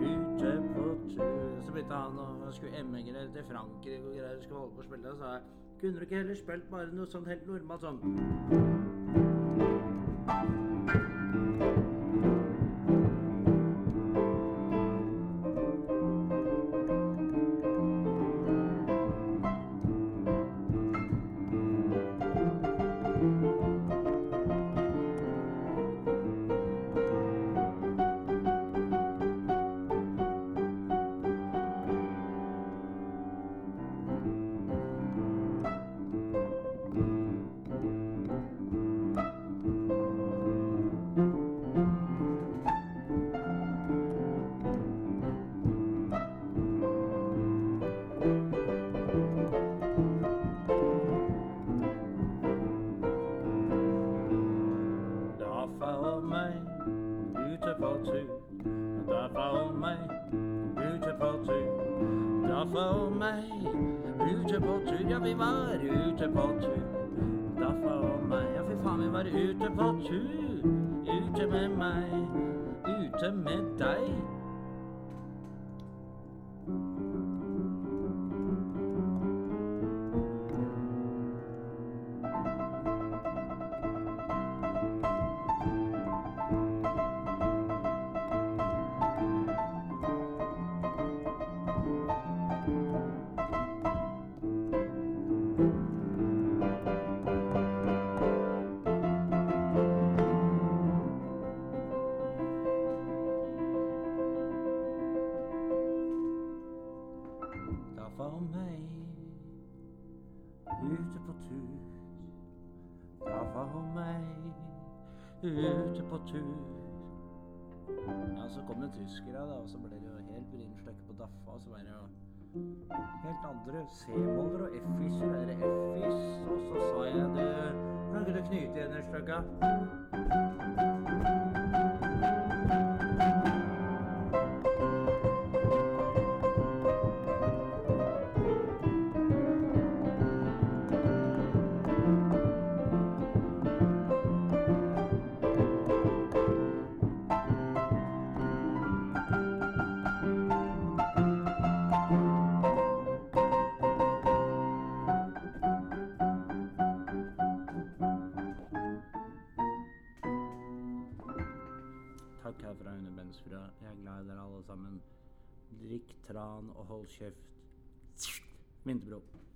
S1: Ute på tur Så begynte han å skulle emmegere til Frankrike og greier. Skulle holde på å spille, så sa jeg kunne du ikke heller spilt bare noe sånn helt normalt sånn? two. Da for meg, ute på tur. Da for meg, ute på tur. Ja, vi var ute på tur. Da for meg, ja, fy faen, vi var ute på tur. Ute med meg, ute med deg. Da for meg ute på tur. Da for meg ute på tur. Ja, så kom det tyskere, da, og så ble det jo helt brynstøkke på daffa. Og så var det jo helt andre C-moller og F-isser. Er det F-is? Og så sa jeg du Hvordan kunne du knyte igjen det stykket? Takk herfra, Une Bensfrø. Jeg er glad i dere alle sammen. Drikk tran og hold kjeft. Vinterbro.